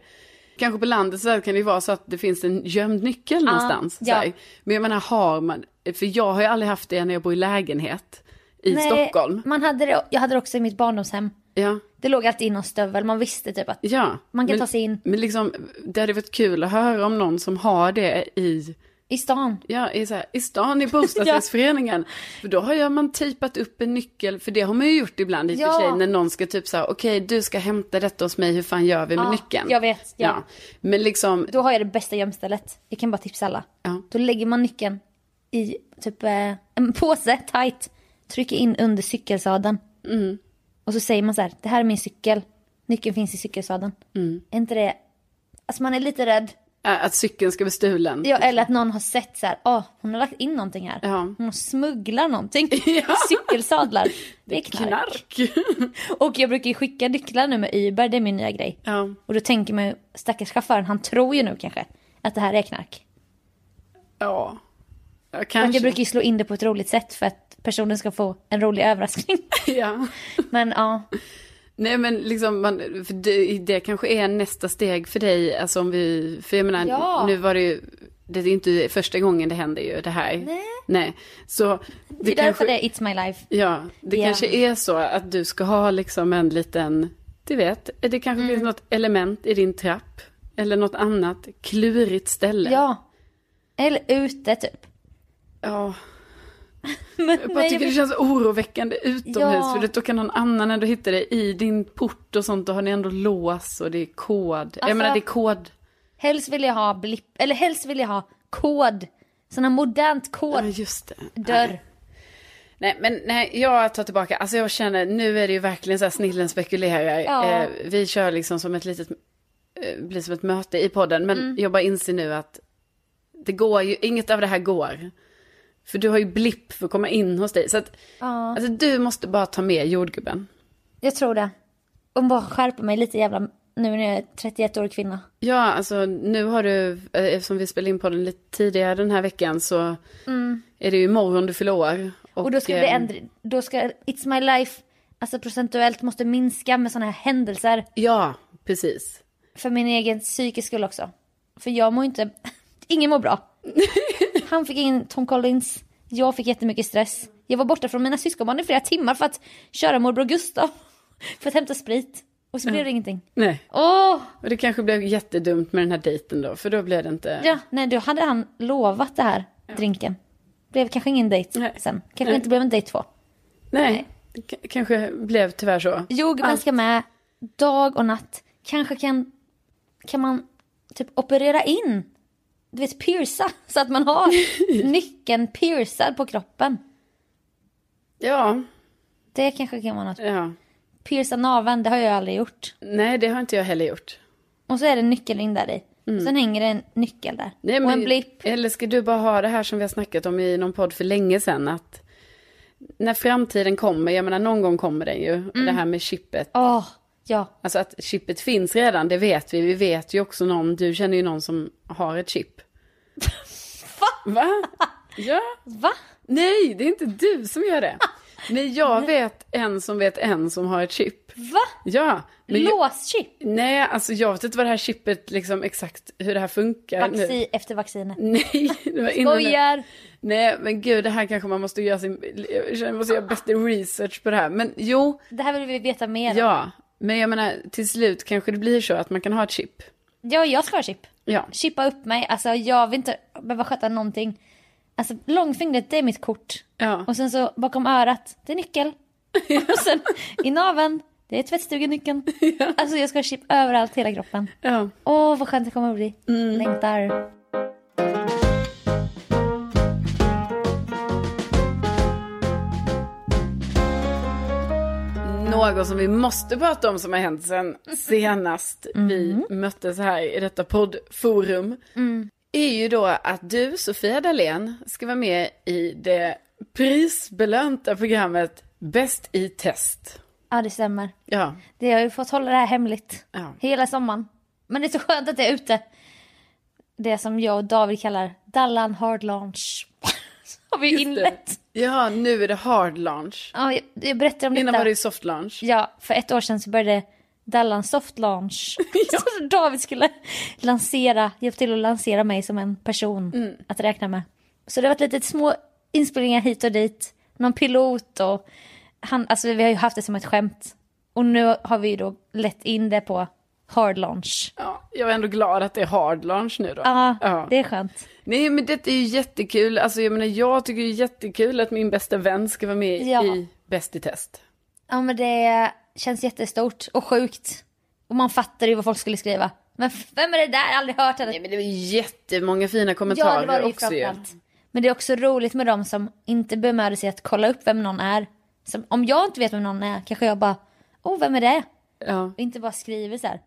[SPEAKER 2] Kanske på landet så här kan det ju vara så att det finns en gömd nyckel någonstans. Så
[SPEAKER 1] ja.
[SPEAKER 2] här. Men jag menar har man, för jag har ju aldrig haft det när jag bor i lägenhet i
[SPEAKER 1] Nej,
[SPEAKER 2] Stockholm.
[SPEAKER 1] Man hade det, jag hade det också i mitt barndomshem.
[SPEAKER 2] Ja,
[SPEAKER 1] Det låg alltid in någon stövel. Man visste typ att
[SPEAKER 2] ja.
[SPEAKER 1] Man kan
[SPEAKER 2] men,
[SPEAKER 1] ta sig in.
[SPEAKER 2] Men liksom, det hade varit kul att höra om någon som har det i
[SPEAKER 1] i stan.
[SPEAKER 2] Ja, i, så här,
[SPEAKER 1] (laughs)
[SPEAKER 2] i stan i bostadsrättsföreningen. För då har jag- man typat upp en nyckel, för det har man ju gjort ibland i och
[SPEAKER 1] Ja.
[SPEAKER 2] för sig, när någon ska typ så här, okej du ska hämta detta hos mig, hur fan gör vi med
[SPEAKER 1] Ja,
[SPEAKER 2] nyckeln?
[SPEAKER 1] jag vet, ja.
[SPEAKER 2] Men liksom,
[SPEAKER 1] Då har jag det bästa gömstället. Jag kan bara tipsa alla.
[SPEAKER 2] Ja.
[SPEAKER 1] Då lägger man nyckeln i typ eh, en påse, tight. Trycker in under cykelsadeln.
[SPEAKER 2] Mm.
[SPEAKER 1] Och så säger man så här, det här är min cykel. Nyckeln finns i cykelsadeln.
[SPEAKER 2] Mm.
[SPEAKER 1] Är inte det... Alltså man är lite rädd.
[SPEAKER 2] äh, att cykeln ska bli stulen.
[SPEAKER 1] Ja, eller att någon har sett så här, ah, hon har lagt in någonting här.
[SPEAKER 2] Ja.
[SPEAKER 1] Hon smugglar
[SPEAKER 2] (laughs)
[SPEAKER 1] någonting. Cykelsadlar. Det är knark. (laughs)
[SPEAKER 2] Knark.
[SPEAKER 1] Och jag brukar ju skicka nycklar nu med Uber, det är min nya grej.
[SPEAKER 2] ja.
[SPEAKER 1] Och då tänker man ju, stackars chauffören, han tror ju nu kanske att det här är knark.
[SPEAKER 2] ja. Ja,
[SPEAKER 1] Och
[SPEAKER 2] kanske.
[SPEAKER 1] jag brukar ju slå in det på ett roligt sätt för att personen ska få en rolig
[SPEAKER 2] (laughs)
[SPEAKER 1] överraskning.
[SPEAKER 2] (laughs) Ja.
[SPEAKER 1] Men ja,
[SPEAKER 2] Nej men liksom, man, för det, det kanske är nästa steg för dig, alltså om vi, för jag menar,
[SPEAKER 1] Ja.
[SPEAKER 2] nu var det ju, det är inte första gången det händer ju det här. Nej. Nej. Så
[SPEAKER 1] det är därför det är It's My Life.
[SPEAKER 2] Ja, det
[SPEAKER 1] Ja.
[SPEAKER 2] kanske är så att du ska ha liksom en liten, du vet, det kanske
[SPEAKER 1] Mm.
[SPEAKER 2] finns något element i din trapp. Eller något annat klurigt ställe.
[SPEAKER 1] Ja. Eller ute
[SPEAKER 2] (laughs)
[SPEAKER 1] typ.
[SPEAKER 2] Ja,
[SPEAKER 1] Men
[SPEAKER 2] Jag bara
[SPEAKER 1] nej, jag
[SPEAKER 2] tycker det
[SPEAKER 1] vill-
[SPEAKER 2] känns oroväckande utomhus.
[SPEAKER 1] Ja.
[SPEAKER 2] För det- då kan någon annan ändå hitta dig i din port och sånt. Då har ni ändå lås och det är kod.
[SPEAKER 1] Alltså-
[SPEAKER 2] jag menar det är kod.
[SPEAKER 1] helst vill jag ha blipp, eller helst vill jag ha kod. Sån här modernt
[SPEAKER 2] Ja,
[SPEAKER 1] kod.
[SPEAKER 2] just det.
[SPEAKER 1] Dörr.
[SPEAKER 2] Nej, men nej, jag tar tillbaka. Alltså jag känner, nu är det ju verkligen så här snillen spekulerar.
[SPEAKER 1] Ja.
[SPEAKER 2] Eh, vi kör liksom som ett litet, eh, blir som ett möte i podden. Men
[SPEAKER 1] Mm.
[SPEAKER 2] jag bara inser nu att det går ju, inget av det här går. För du har ju blipp för att komma in hos dig. Så att, alltså du måste bara ta med jordgubben.
[SPEAKER 1] Jag tror det. Om bara skärper mig lite jävla nu när jag är 31 år kvinna.
[SPEAKER 2] Ja, alltså nu har du, eh, eftersom vi spelade in podden lite tidigare den här veckan så är det ju imorgon du fyller år.
[SPEAKER 1] Mm. Och ehm, då ska det
[SPEAKER 2] eh,
[SPEAKER 1] ändra, då ska It's My Life, alltså procentuellt måste minska med sådana här händelser.
[SPEAKER 2] Ja, precis.
[SPEAKER 1] För min egen psykisk skull också. För jag mår inte, (laughs) ingen mår (laughs) bra. Han fick ingen Tom Collins, jag fick jättemycket stress. Jag var borta från mina syskonbarn i flera timmar för att köra morbror Gustav. (laughs) För att hämta sprit. Och så blev det ingenting.
[SPEAKER 2] Nej.
[SPEAKER 1] Åh!
[SPEAKER 2] Och det kanske blev jättedumt med den här dejten då, för då blev det inte...
[SPEAKER 1] Ja, nej då hade han lovat det här drinken. Blev kanske ingen dejt
[SPEAKER 2] Nej.
[SPEAKER 1] sen. Kanske
[SPEAKER 2] Nej.
[SPEAKER 1] inte blev en dejt två.
[SPEAKER 2] Nej, det k- kanske blev tyvärr så.
[SPEAKER 1] Jordgubben ska med dag och natt. Kanske kan, kan man typ operera in, du vet pierca, (laughs) så att man
[SPEAKER 2] (laughs)
[SPEAKER 1] har nyckeln piercad på kroppen.
[SPEAKER 2] Ja,
[SPEAKER 1] Det kanske kan vara något.
[SPEAKER 2] ja.
[SPEAKER 1] Pierca naveln, det har jag aldrig gjort.
[SPEAKER 2] Nej, det har inte jag heller gjort.
[SPEAKER 1] Och så är det en nyckel in där i. Sen hänger det en nyckel där.
[SPEAKER 2] Mm. Nej,
[SPEAKER 1] och en blipp.
[SPEAKER 2] Eller ska du bara ha det här som vi har snackat om i någon podd för länge sedan, att när framtiden kommer, jag menar någon gång kommer den ju, och det här med chippet.
[SPEAKER 1] Åh, ja.
[SPEAKER 2] Alltså att chippet finns redan, det vet vi. Vi vet ju också någon, du känner ju någon som har ett chip. Va? Va? Ja.
[SPEAKER 1] Va?
[SPEAKER 2] Nej, det är inte du som gör det. Men jag vet en som vet en som har ett chip.
[SPEAKER 1] Va?
[SPEAKER 2] Ja. Men jag,
[SPEAKER 1] Låschip?
[SPEAKER 2] nej, alltså jag vet inte vad det här chippet liksom exakt hur det här funkar. nu.
[SPEAKER 1] Vaccin efter vaccinet.
[SPEAKER 2] (laughs) Nej, det var innan det.
[SPEAKER 1] Skojar!
[SPEAKER 2] Nej, men gud, det här kanske man måste göra sin... Jag känner att man måste göra bättre research på det här. Men jo,
[SPEAKER 1] Det här vill vi veta mer om. Ja,
[SPEAKER 2] ja. Men jag menar, till slut kanske det blir så att man kan ha ett chip.
[SPEAKER 1] jag ska ha chip.
[SPEAKER 2] Ja.
[SPEAKER 1] chippa upp mig. Alltså jag vill inte behöva sköta någonting. Alltså långfingret det är mitt kort.
[SPEAKER 2] Ja.
[SPEAKER 1] Och sen så bakom örat, det är
[SPEAKER 2] (laughs)
[SPEAKER 1] nyckel. Och sen i naveln, det är tvättstugenyckeln. Alltså jag ska ha chip överallt, hela kroppen.
[SPEAKER 2] ja.
[SPEAKER 1] Åh vad skönt det kommer att bli.
[SPEAKER 2] Mm.
[SPEAKER 1] Längtar.
[SPEAKER 2] Något som vi måste prata om som har Mm. hänt sen senast vi möttes här i detta poddforum är ju då att du, Sofia Dalén, ska vara med i det prisbelönta programmet Bäst i test.
[SPEAKER 1] Ja, det stämmer.
[SPEAKER 2] Ja,
[SPEAKER 1] Det har ju fått hålla det här hemligt
[SPEAKER 2] Ja.
[SPEAKER 1] hela sommaren. Men det är så skönt att det är ute. Det som jag och David kallar Dallan Hard Launch. (laughs) har vi ju inlett.
[SPEAKER 2] ja nu är det hard launch.
[SPEAKER 1] Ja, jag, jag berättade om
[SPEAKER 2] Innan
[SPEAKER 1] detta.
[SPEAKER 2] var det ju soft launch.
[SPEAKER 1] Ja, för ett år sedan så började Dallan Soft
[SPEAKER 2] (laughs)
[SPEAKER 1] Launch. Så David skulle lansera, hjälpa till att lansera mig som en person
[SPEAKER 2] Mm.
[SPEAKER 1] att räkna med. Så det har varit lite små inspelningar hit och dit. Någon pilot och han, alltså vi har ju haft det som ett skämt. Och nu har vi ju då lett in det på Hard Launch.
[SPEAKER 2] Ja, jag är ändå glad att det är hard launch nu då.
[SPEAKER 1] Ja, det är skönt.
[SPEAKER 2] Nej men det är ju jättekul, alltså jag menar jag tycker det är jättekul att min bästa vän ska vara med
[SPEAKER 1] Ja.
[SPEAKER 2] i Bäst i test.
[SPEAKER 1] Ja men det känns jättestort och sjukt. Och man fattar ju vad folk skulle skriva. Men f- vem är det där? Jag har aldrig hört henne.
[SPEAKER 2] Nej men det var jättemånga fina kommentarer
[SPEAKER 1] Ja, det var det ju
[SPEAKER 2] också ju.
[SPEAKER 1] framförallt. Men det är också roligt med de som inte bemöder sig att kolla upp vem någon är. Som, om jag inte vet vem någon är kanske jag bara, oh vem är det?
[SPEAKER 2] Ja.
[SPEAKER 1] Och inte bara skriver så här.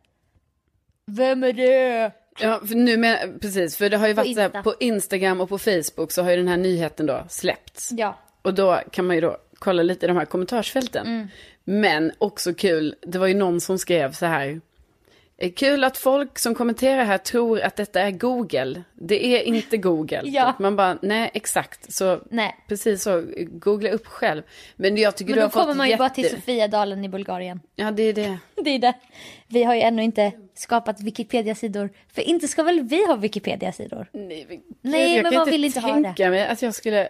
[SPEAKER 1] Vem är det?
[SPEAKER 2] ja, för nu men, precis, för det har ju varit så här,
[SPEAKER 1] Insta.
[SPEAKER 2] på Instagram och på Facebook så har ju den här nyheten då släppts.
[SPEAKER 1] Ja.
[SPEAKER 2] Och då kan man ju då kolla lite i de här kommentarsfälten.
[SPEAKER 1] Mm.
[SPEAKER 2] Men också kul, det var ju någon som skrev så här. "Eh, Kul att folk som kommenterar här tror att detta är Google. Det är inte Google.
[SPEAKER 1] (laughs) Ja.
[SPEAKER 2] Man bara, nej exakt. Så
[SPEAKER 1] Nej.
[SPEAKER 2] precis så, googla upp själv. Men jag tycker
[SPEAKER 1] Men
[SPEAKER 2] du
[SPEAKER 1] då
[SPEAKER 2] har
[SPEAKER 1] kommer
[SPEAKER 2] fått
[SPEAKER 1] man ju
[SPEAKER 2] jätte...
[SPEAKER 1] bara till Sofiadalen i Bulgarien. (laughs)
[SPEAKER 2] Ja, det är det.
[SPEAKER 1] Det är det. Vi har ju ännu inte skapat Wikipedia-sidor. För inte ska väl vi ha Wikipedia-sidor?
[SPEAKER 2] Nej, men,
[SPEAKER 1] Nej,
[SPEAKER 2] jag
[SPEAKER 1] men
[SPEAKER 2] kan
[SPEAKER 1] man vill inte ha det.
[SPEAKER 2] tänka mig att jag skulle...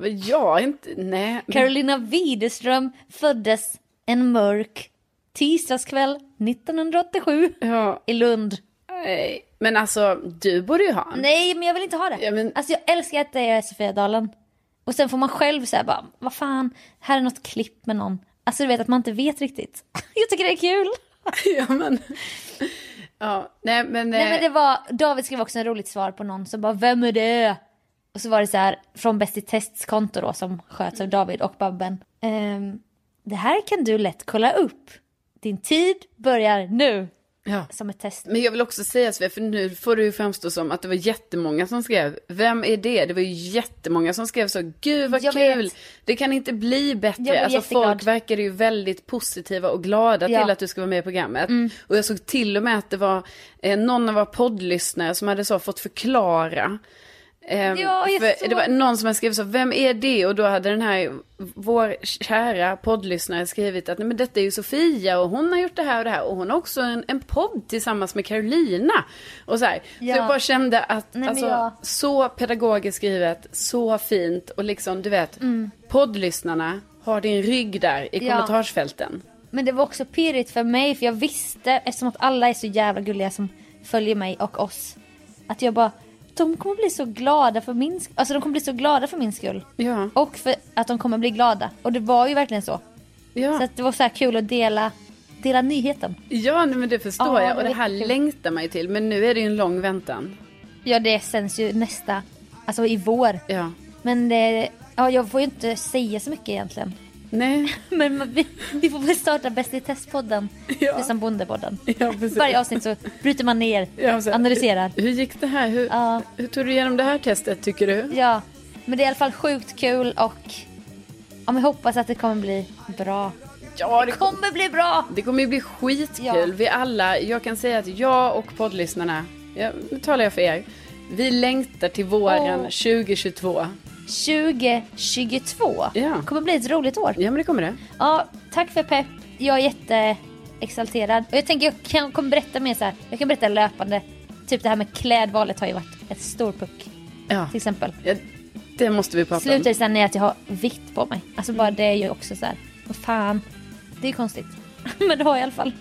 [SPEAKER 2] Men Jag inte... Nej.
[SPEAKER 1] Carolina Widerström föddes en mörk tisdagskväll 1987
[SPEAKER 2] Ja,
[SPEAKER 1] i Lund.
[SPEAKER 2] nej. Men alltså, du borde ju ha en.
[SPEAKER 1] Nej men jag vill inte ha det.
[SPEAKER 2] Ja, men-
[SPEAKER 1] Alltså jag älskar att det är Sofia Dalen. Och sen får man själv säga bara, vad fan, här är något klipp med någon. Alltså du vet att man inte vet riktigt. (laughs) Jag tycker det är
[SPEAKER 2] (laughs)
[SPEAKER 1] kul.
[SPEAKER 2] (laughs) ja, men... Ja, nej, men... eh,
[SPEAKER 1] Nej men det var, David skrev också en roligt svar på någon som bara, vem är det? Och så var det så här från Bäst i tests konto då som sköts av David och Babben. Ehm, det här kan du lätt kolla upp. Din tid börjar nu.
[SPEAKER 2] Ja.
[SPEAKER 1] Som ett test.
[SPEAKER 2] Men jag vill också säga Svea, för nu får du ju framstå som att det var jättemånga som skrev, vem är det? Det var ju jättemånga som skrev så, gud vad
[SPEAKER 1] Jag
[SPEAKER 2] kul,
[SPEAKER 1] vet.
[SPEAKER 2] det kan inte bli
[SPEAKER 1] Jag
[SPEAKER 2] bättre.
[SPEAKER 1] blev
[SPEAKER 2] Alltså
[SPEAKER 1] jätteglad.
[SPEAKER 2] folk verkade ju väldigt positiva och glada
[SPEAKER 1] Ja. Mm.
[SPEAKER 2] till att du ska vara med i programmet. Och jag såg till och med att det var eh, någon av våra poddlyssnare som hade så fått förklara. Ehm,
[SPEAKER 1] Ja, jag
[SPEAKER 2] för
[SPEAKER 1] såg
[SPEAKER 2] det var
[SPEAKER 1] det.
[SPEAKER 2] någon som hade skrivit så, vem är det? Och då hade den här, vår kära poddlyssnare skrivit att, nej men detta är ju Sofia och hon har gjort det här och det här och hon har också en, en podd tillsammans med Carolina. Och så här.
[SPEAKER 1] Ja.
[SPEAKER 2] Så jag bara kände att,
[SPEAKER 1] men
[SPEAKER 2] alltså,
[SPEAKER 1] jag-
[SPEAKER 2] så pedagogiskt skrivet, så fint och liksom, du vet, poddlyssnarna har din rygg där i
[SPEAKER 1] Mm. Ja.
[SPEAKER 2] kommentarsfälten.
[SPEAKER 1] Men det var också pirrigt för mig för jag visste eftersom att alla är så jävla gulliga som följer mig och oss. Att jag bara, de kommer bli så glada för min skull. Alltså de kommer bli så glada för min skull.
[SPEAKER 2] Ja.
[SPEAKER 1] Och för att de kommer bli glada. Och det var ju verkligen så.
[SPEAKER 2] Ja,
[SPEAKER 1] Så att det var så här kul att dela, dela nyheten.
[SPEAKER 2] ja nej, men det förstår
[SPEAKER 1] Ja,
[SPEAKER 2] jag.
[SPEAKER 1] det
[SPEAKER 2] Och det
[SPEAKER 1] var
[SPEAKER 2] här
[SPEAKER 1] jättekul.
[SPEAKER 2] längtar man ju till. Men nu är det ju en lång väntan.
[SPEAKER 1] Ja det sänds ju nästa, alltså i vår.
[SPEAKER 2] Ja.
[SPEAKER 1] Men det, ja, jag får ju inte säga så mycket egentligen. (laughs)
[SPEAKER 2] Nej. (laughs)
[SPEAKER 1] Men man- vi, vi får väl starta Bäst i testpodden.
[SPEAKER 2] Ja.
[SPEAKER 1] Det är som Bondepodden.
[SPEAKER 2] Ja, precis.
[SPEAKER 1] Varje avsnitt så bryter man ner,
[SPEAKER 2] Ja, så här,
[SPEAKER 1] analyserar.
[SPEAKER 2] Hur, hur gick det här? Hur,
[SPEAKER 1] Ja.
[SPEAKER 2] hur tog du igenom det här testet tycker du?
[SPEAKER 1] Ja, men det är i alla fall sjukt kul och ja, men jag hoppas att det kommer bli bra.
[SPEAKER 2] Ja, det, kom...
[SPEAKER 1] Kommer bli bra!
[SPEAKER 2] det kommer ju bli skitkul.
[SPEAKER 1] Ja.
[SPEAKER 2] Vi alla, jag kan säga att jag och poddlyssnarna, ja, nu talar jag för er, vi längtar till våren
[SPEAKER 1] Åh.
[SPEAKER 2] 2022.
[SPEAKER 1] 2022
[SPEAKER 2] Ja.
[SPEAKER 1] kommer bli ett roligt år.
[SPEAKER 2] Ja, men det kommer det.
[SPEAKER 1] Ja, tack för pepp. Jag är jätteexalterad. Och jag tänker jag kan, kommer berätta mer så här. Jag kan berätta löpande. Typ det här med klädvalet har ju varit ett stor puck.
[SPEAKER 2] Ja.
[SPEAKER 1] Till exempel.
[SPEAKER 2] Ja, det måste vi prata
[SPEAKER 1] Slutar
[SPEAKER 2] om.
[SPEAKER 1] det sen i att jag har vitt på mig. Alltså bara det är ju också så här. Vad fan. Det är ju konstigt. (laughs) men det har jag i alla fall.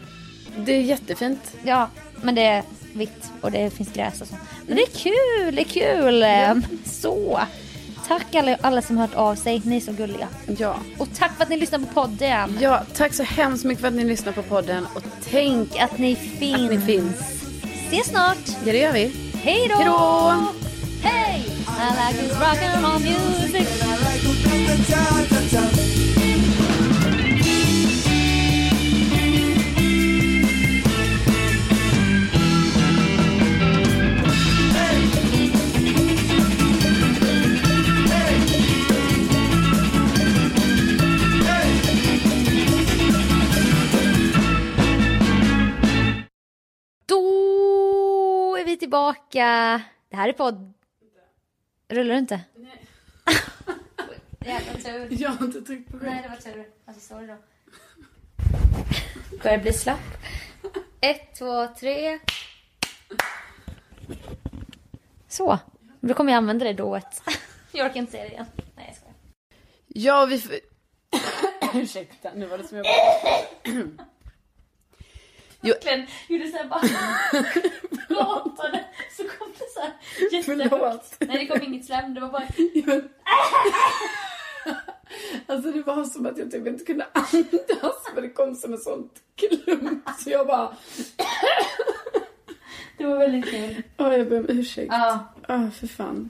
[SPEAKER 2] Det är jättefint.
[SPEAKER 1] Ja, men det är vitt och det finns gräs och så. Men det är kul, det är kul! Så! Tack alla, alla som hört av sig, ni är så gulliga.
[SPEAKER 2] Ja.
[SPEAKER 1] Och tack för att ni lyssnar på podden!
[SPEAKER 2] ja, tack så hemskt mycket för att ni lyssnar på podden och tänk
[SPEAKER 1] Och att ni finns!
[SPEAKER 2] att ni finns.
[SPEAKER 1] Ses snart!
[SPEAKER 2] Ja, det gör vi.
[SPEAKER 1] Hej då!
[SPEAKER 2] Hej då!
[SPEAKER 1] Hej! I like this rock and roll music är vi tillbaka. Det här är podd... Rullar du inte? Nej. (laughs) Jävla tur.
[SPEAKER 2] Jag har inte tryckt på
[SPEAKER 1] Nej, det var tur. Alltså, sorry då. Börjar bli slapp. Ett, två, tre. Så. Då kommer jag använda det dået. Jag orkar inte säga det igen. Nej, jag skojar.
[SPEAKER 2] Ja, vi... f- (coughs) Ursäkta, nu var det som jag bara... jo,
[SPEAKER 1] verkligen gjorde såhär (laughs) bara pratade så kom det såhär
[SPEAKER 2] Förlåt.
[SPEAKER 1] jättehögt. Nej det kom inget slem, det var bara
[SPEAKER 2] jo. Alltså det var som att jag typ inte kunde (laughs) andas för det kom som en sån klump så jag bara...
[SPEAKER 1] det var väldigt kul.
[SPEAKER 2] Åh, jag ber om ursäkt. Ja,
[SPEAKER 1] Ja.
[SPEAKER 2] för fan.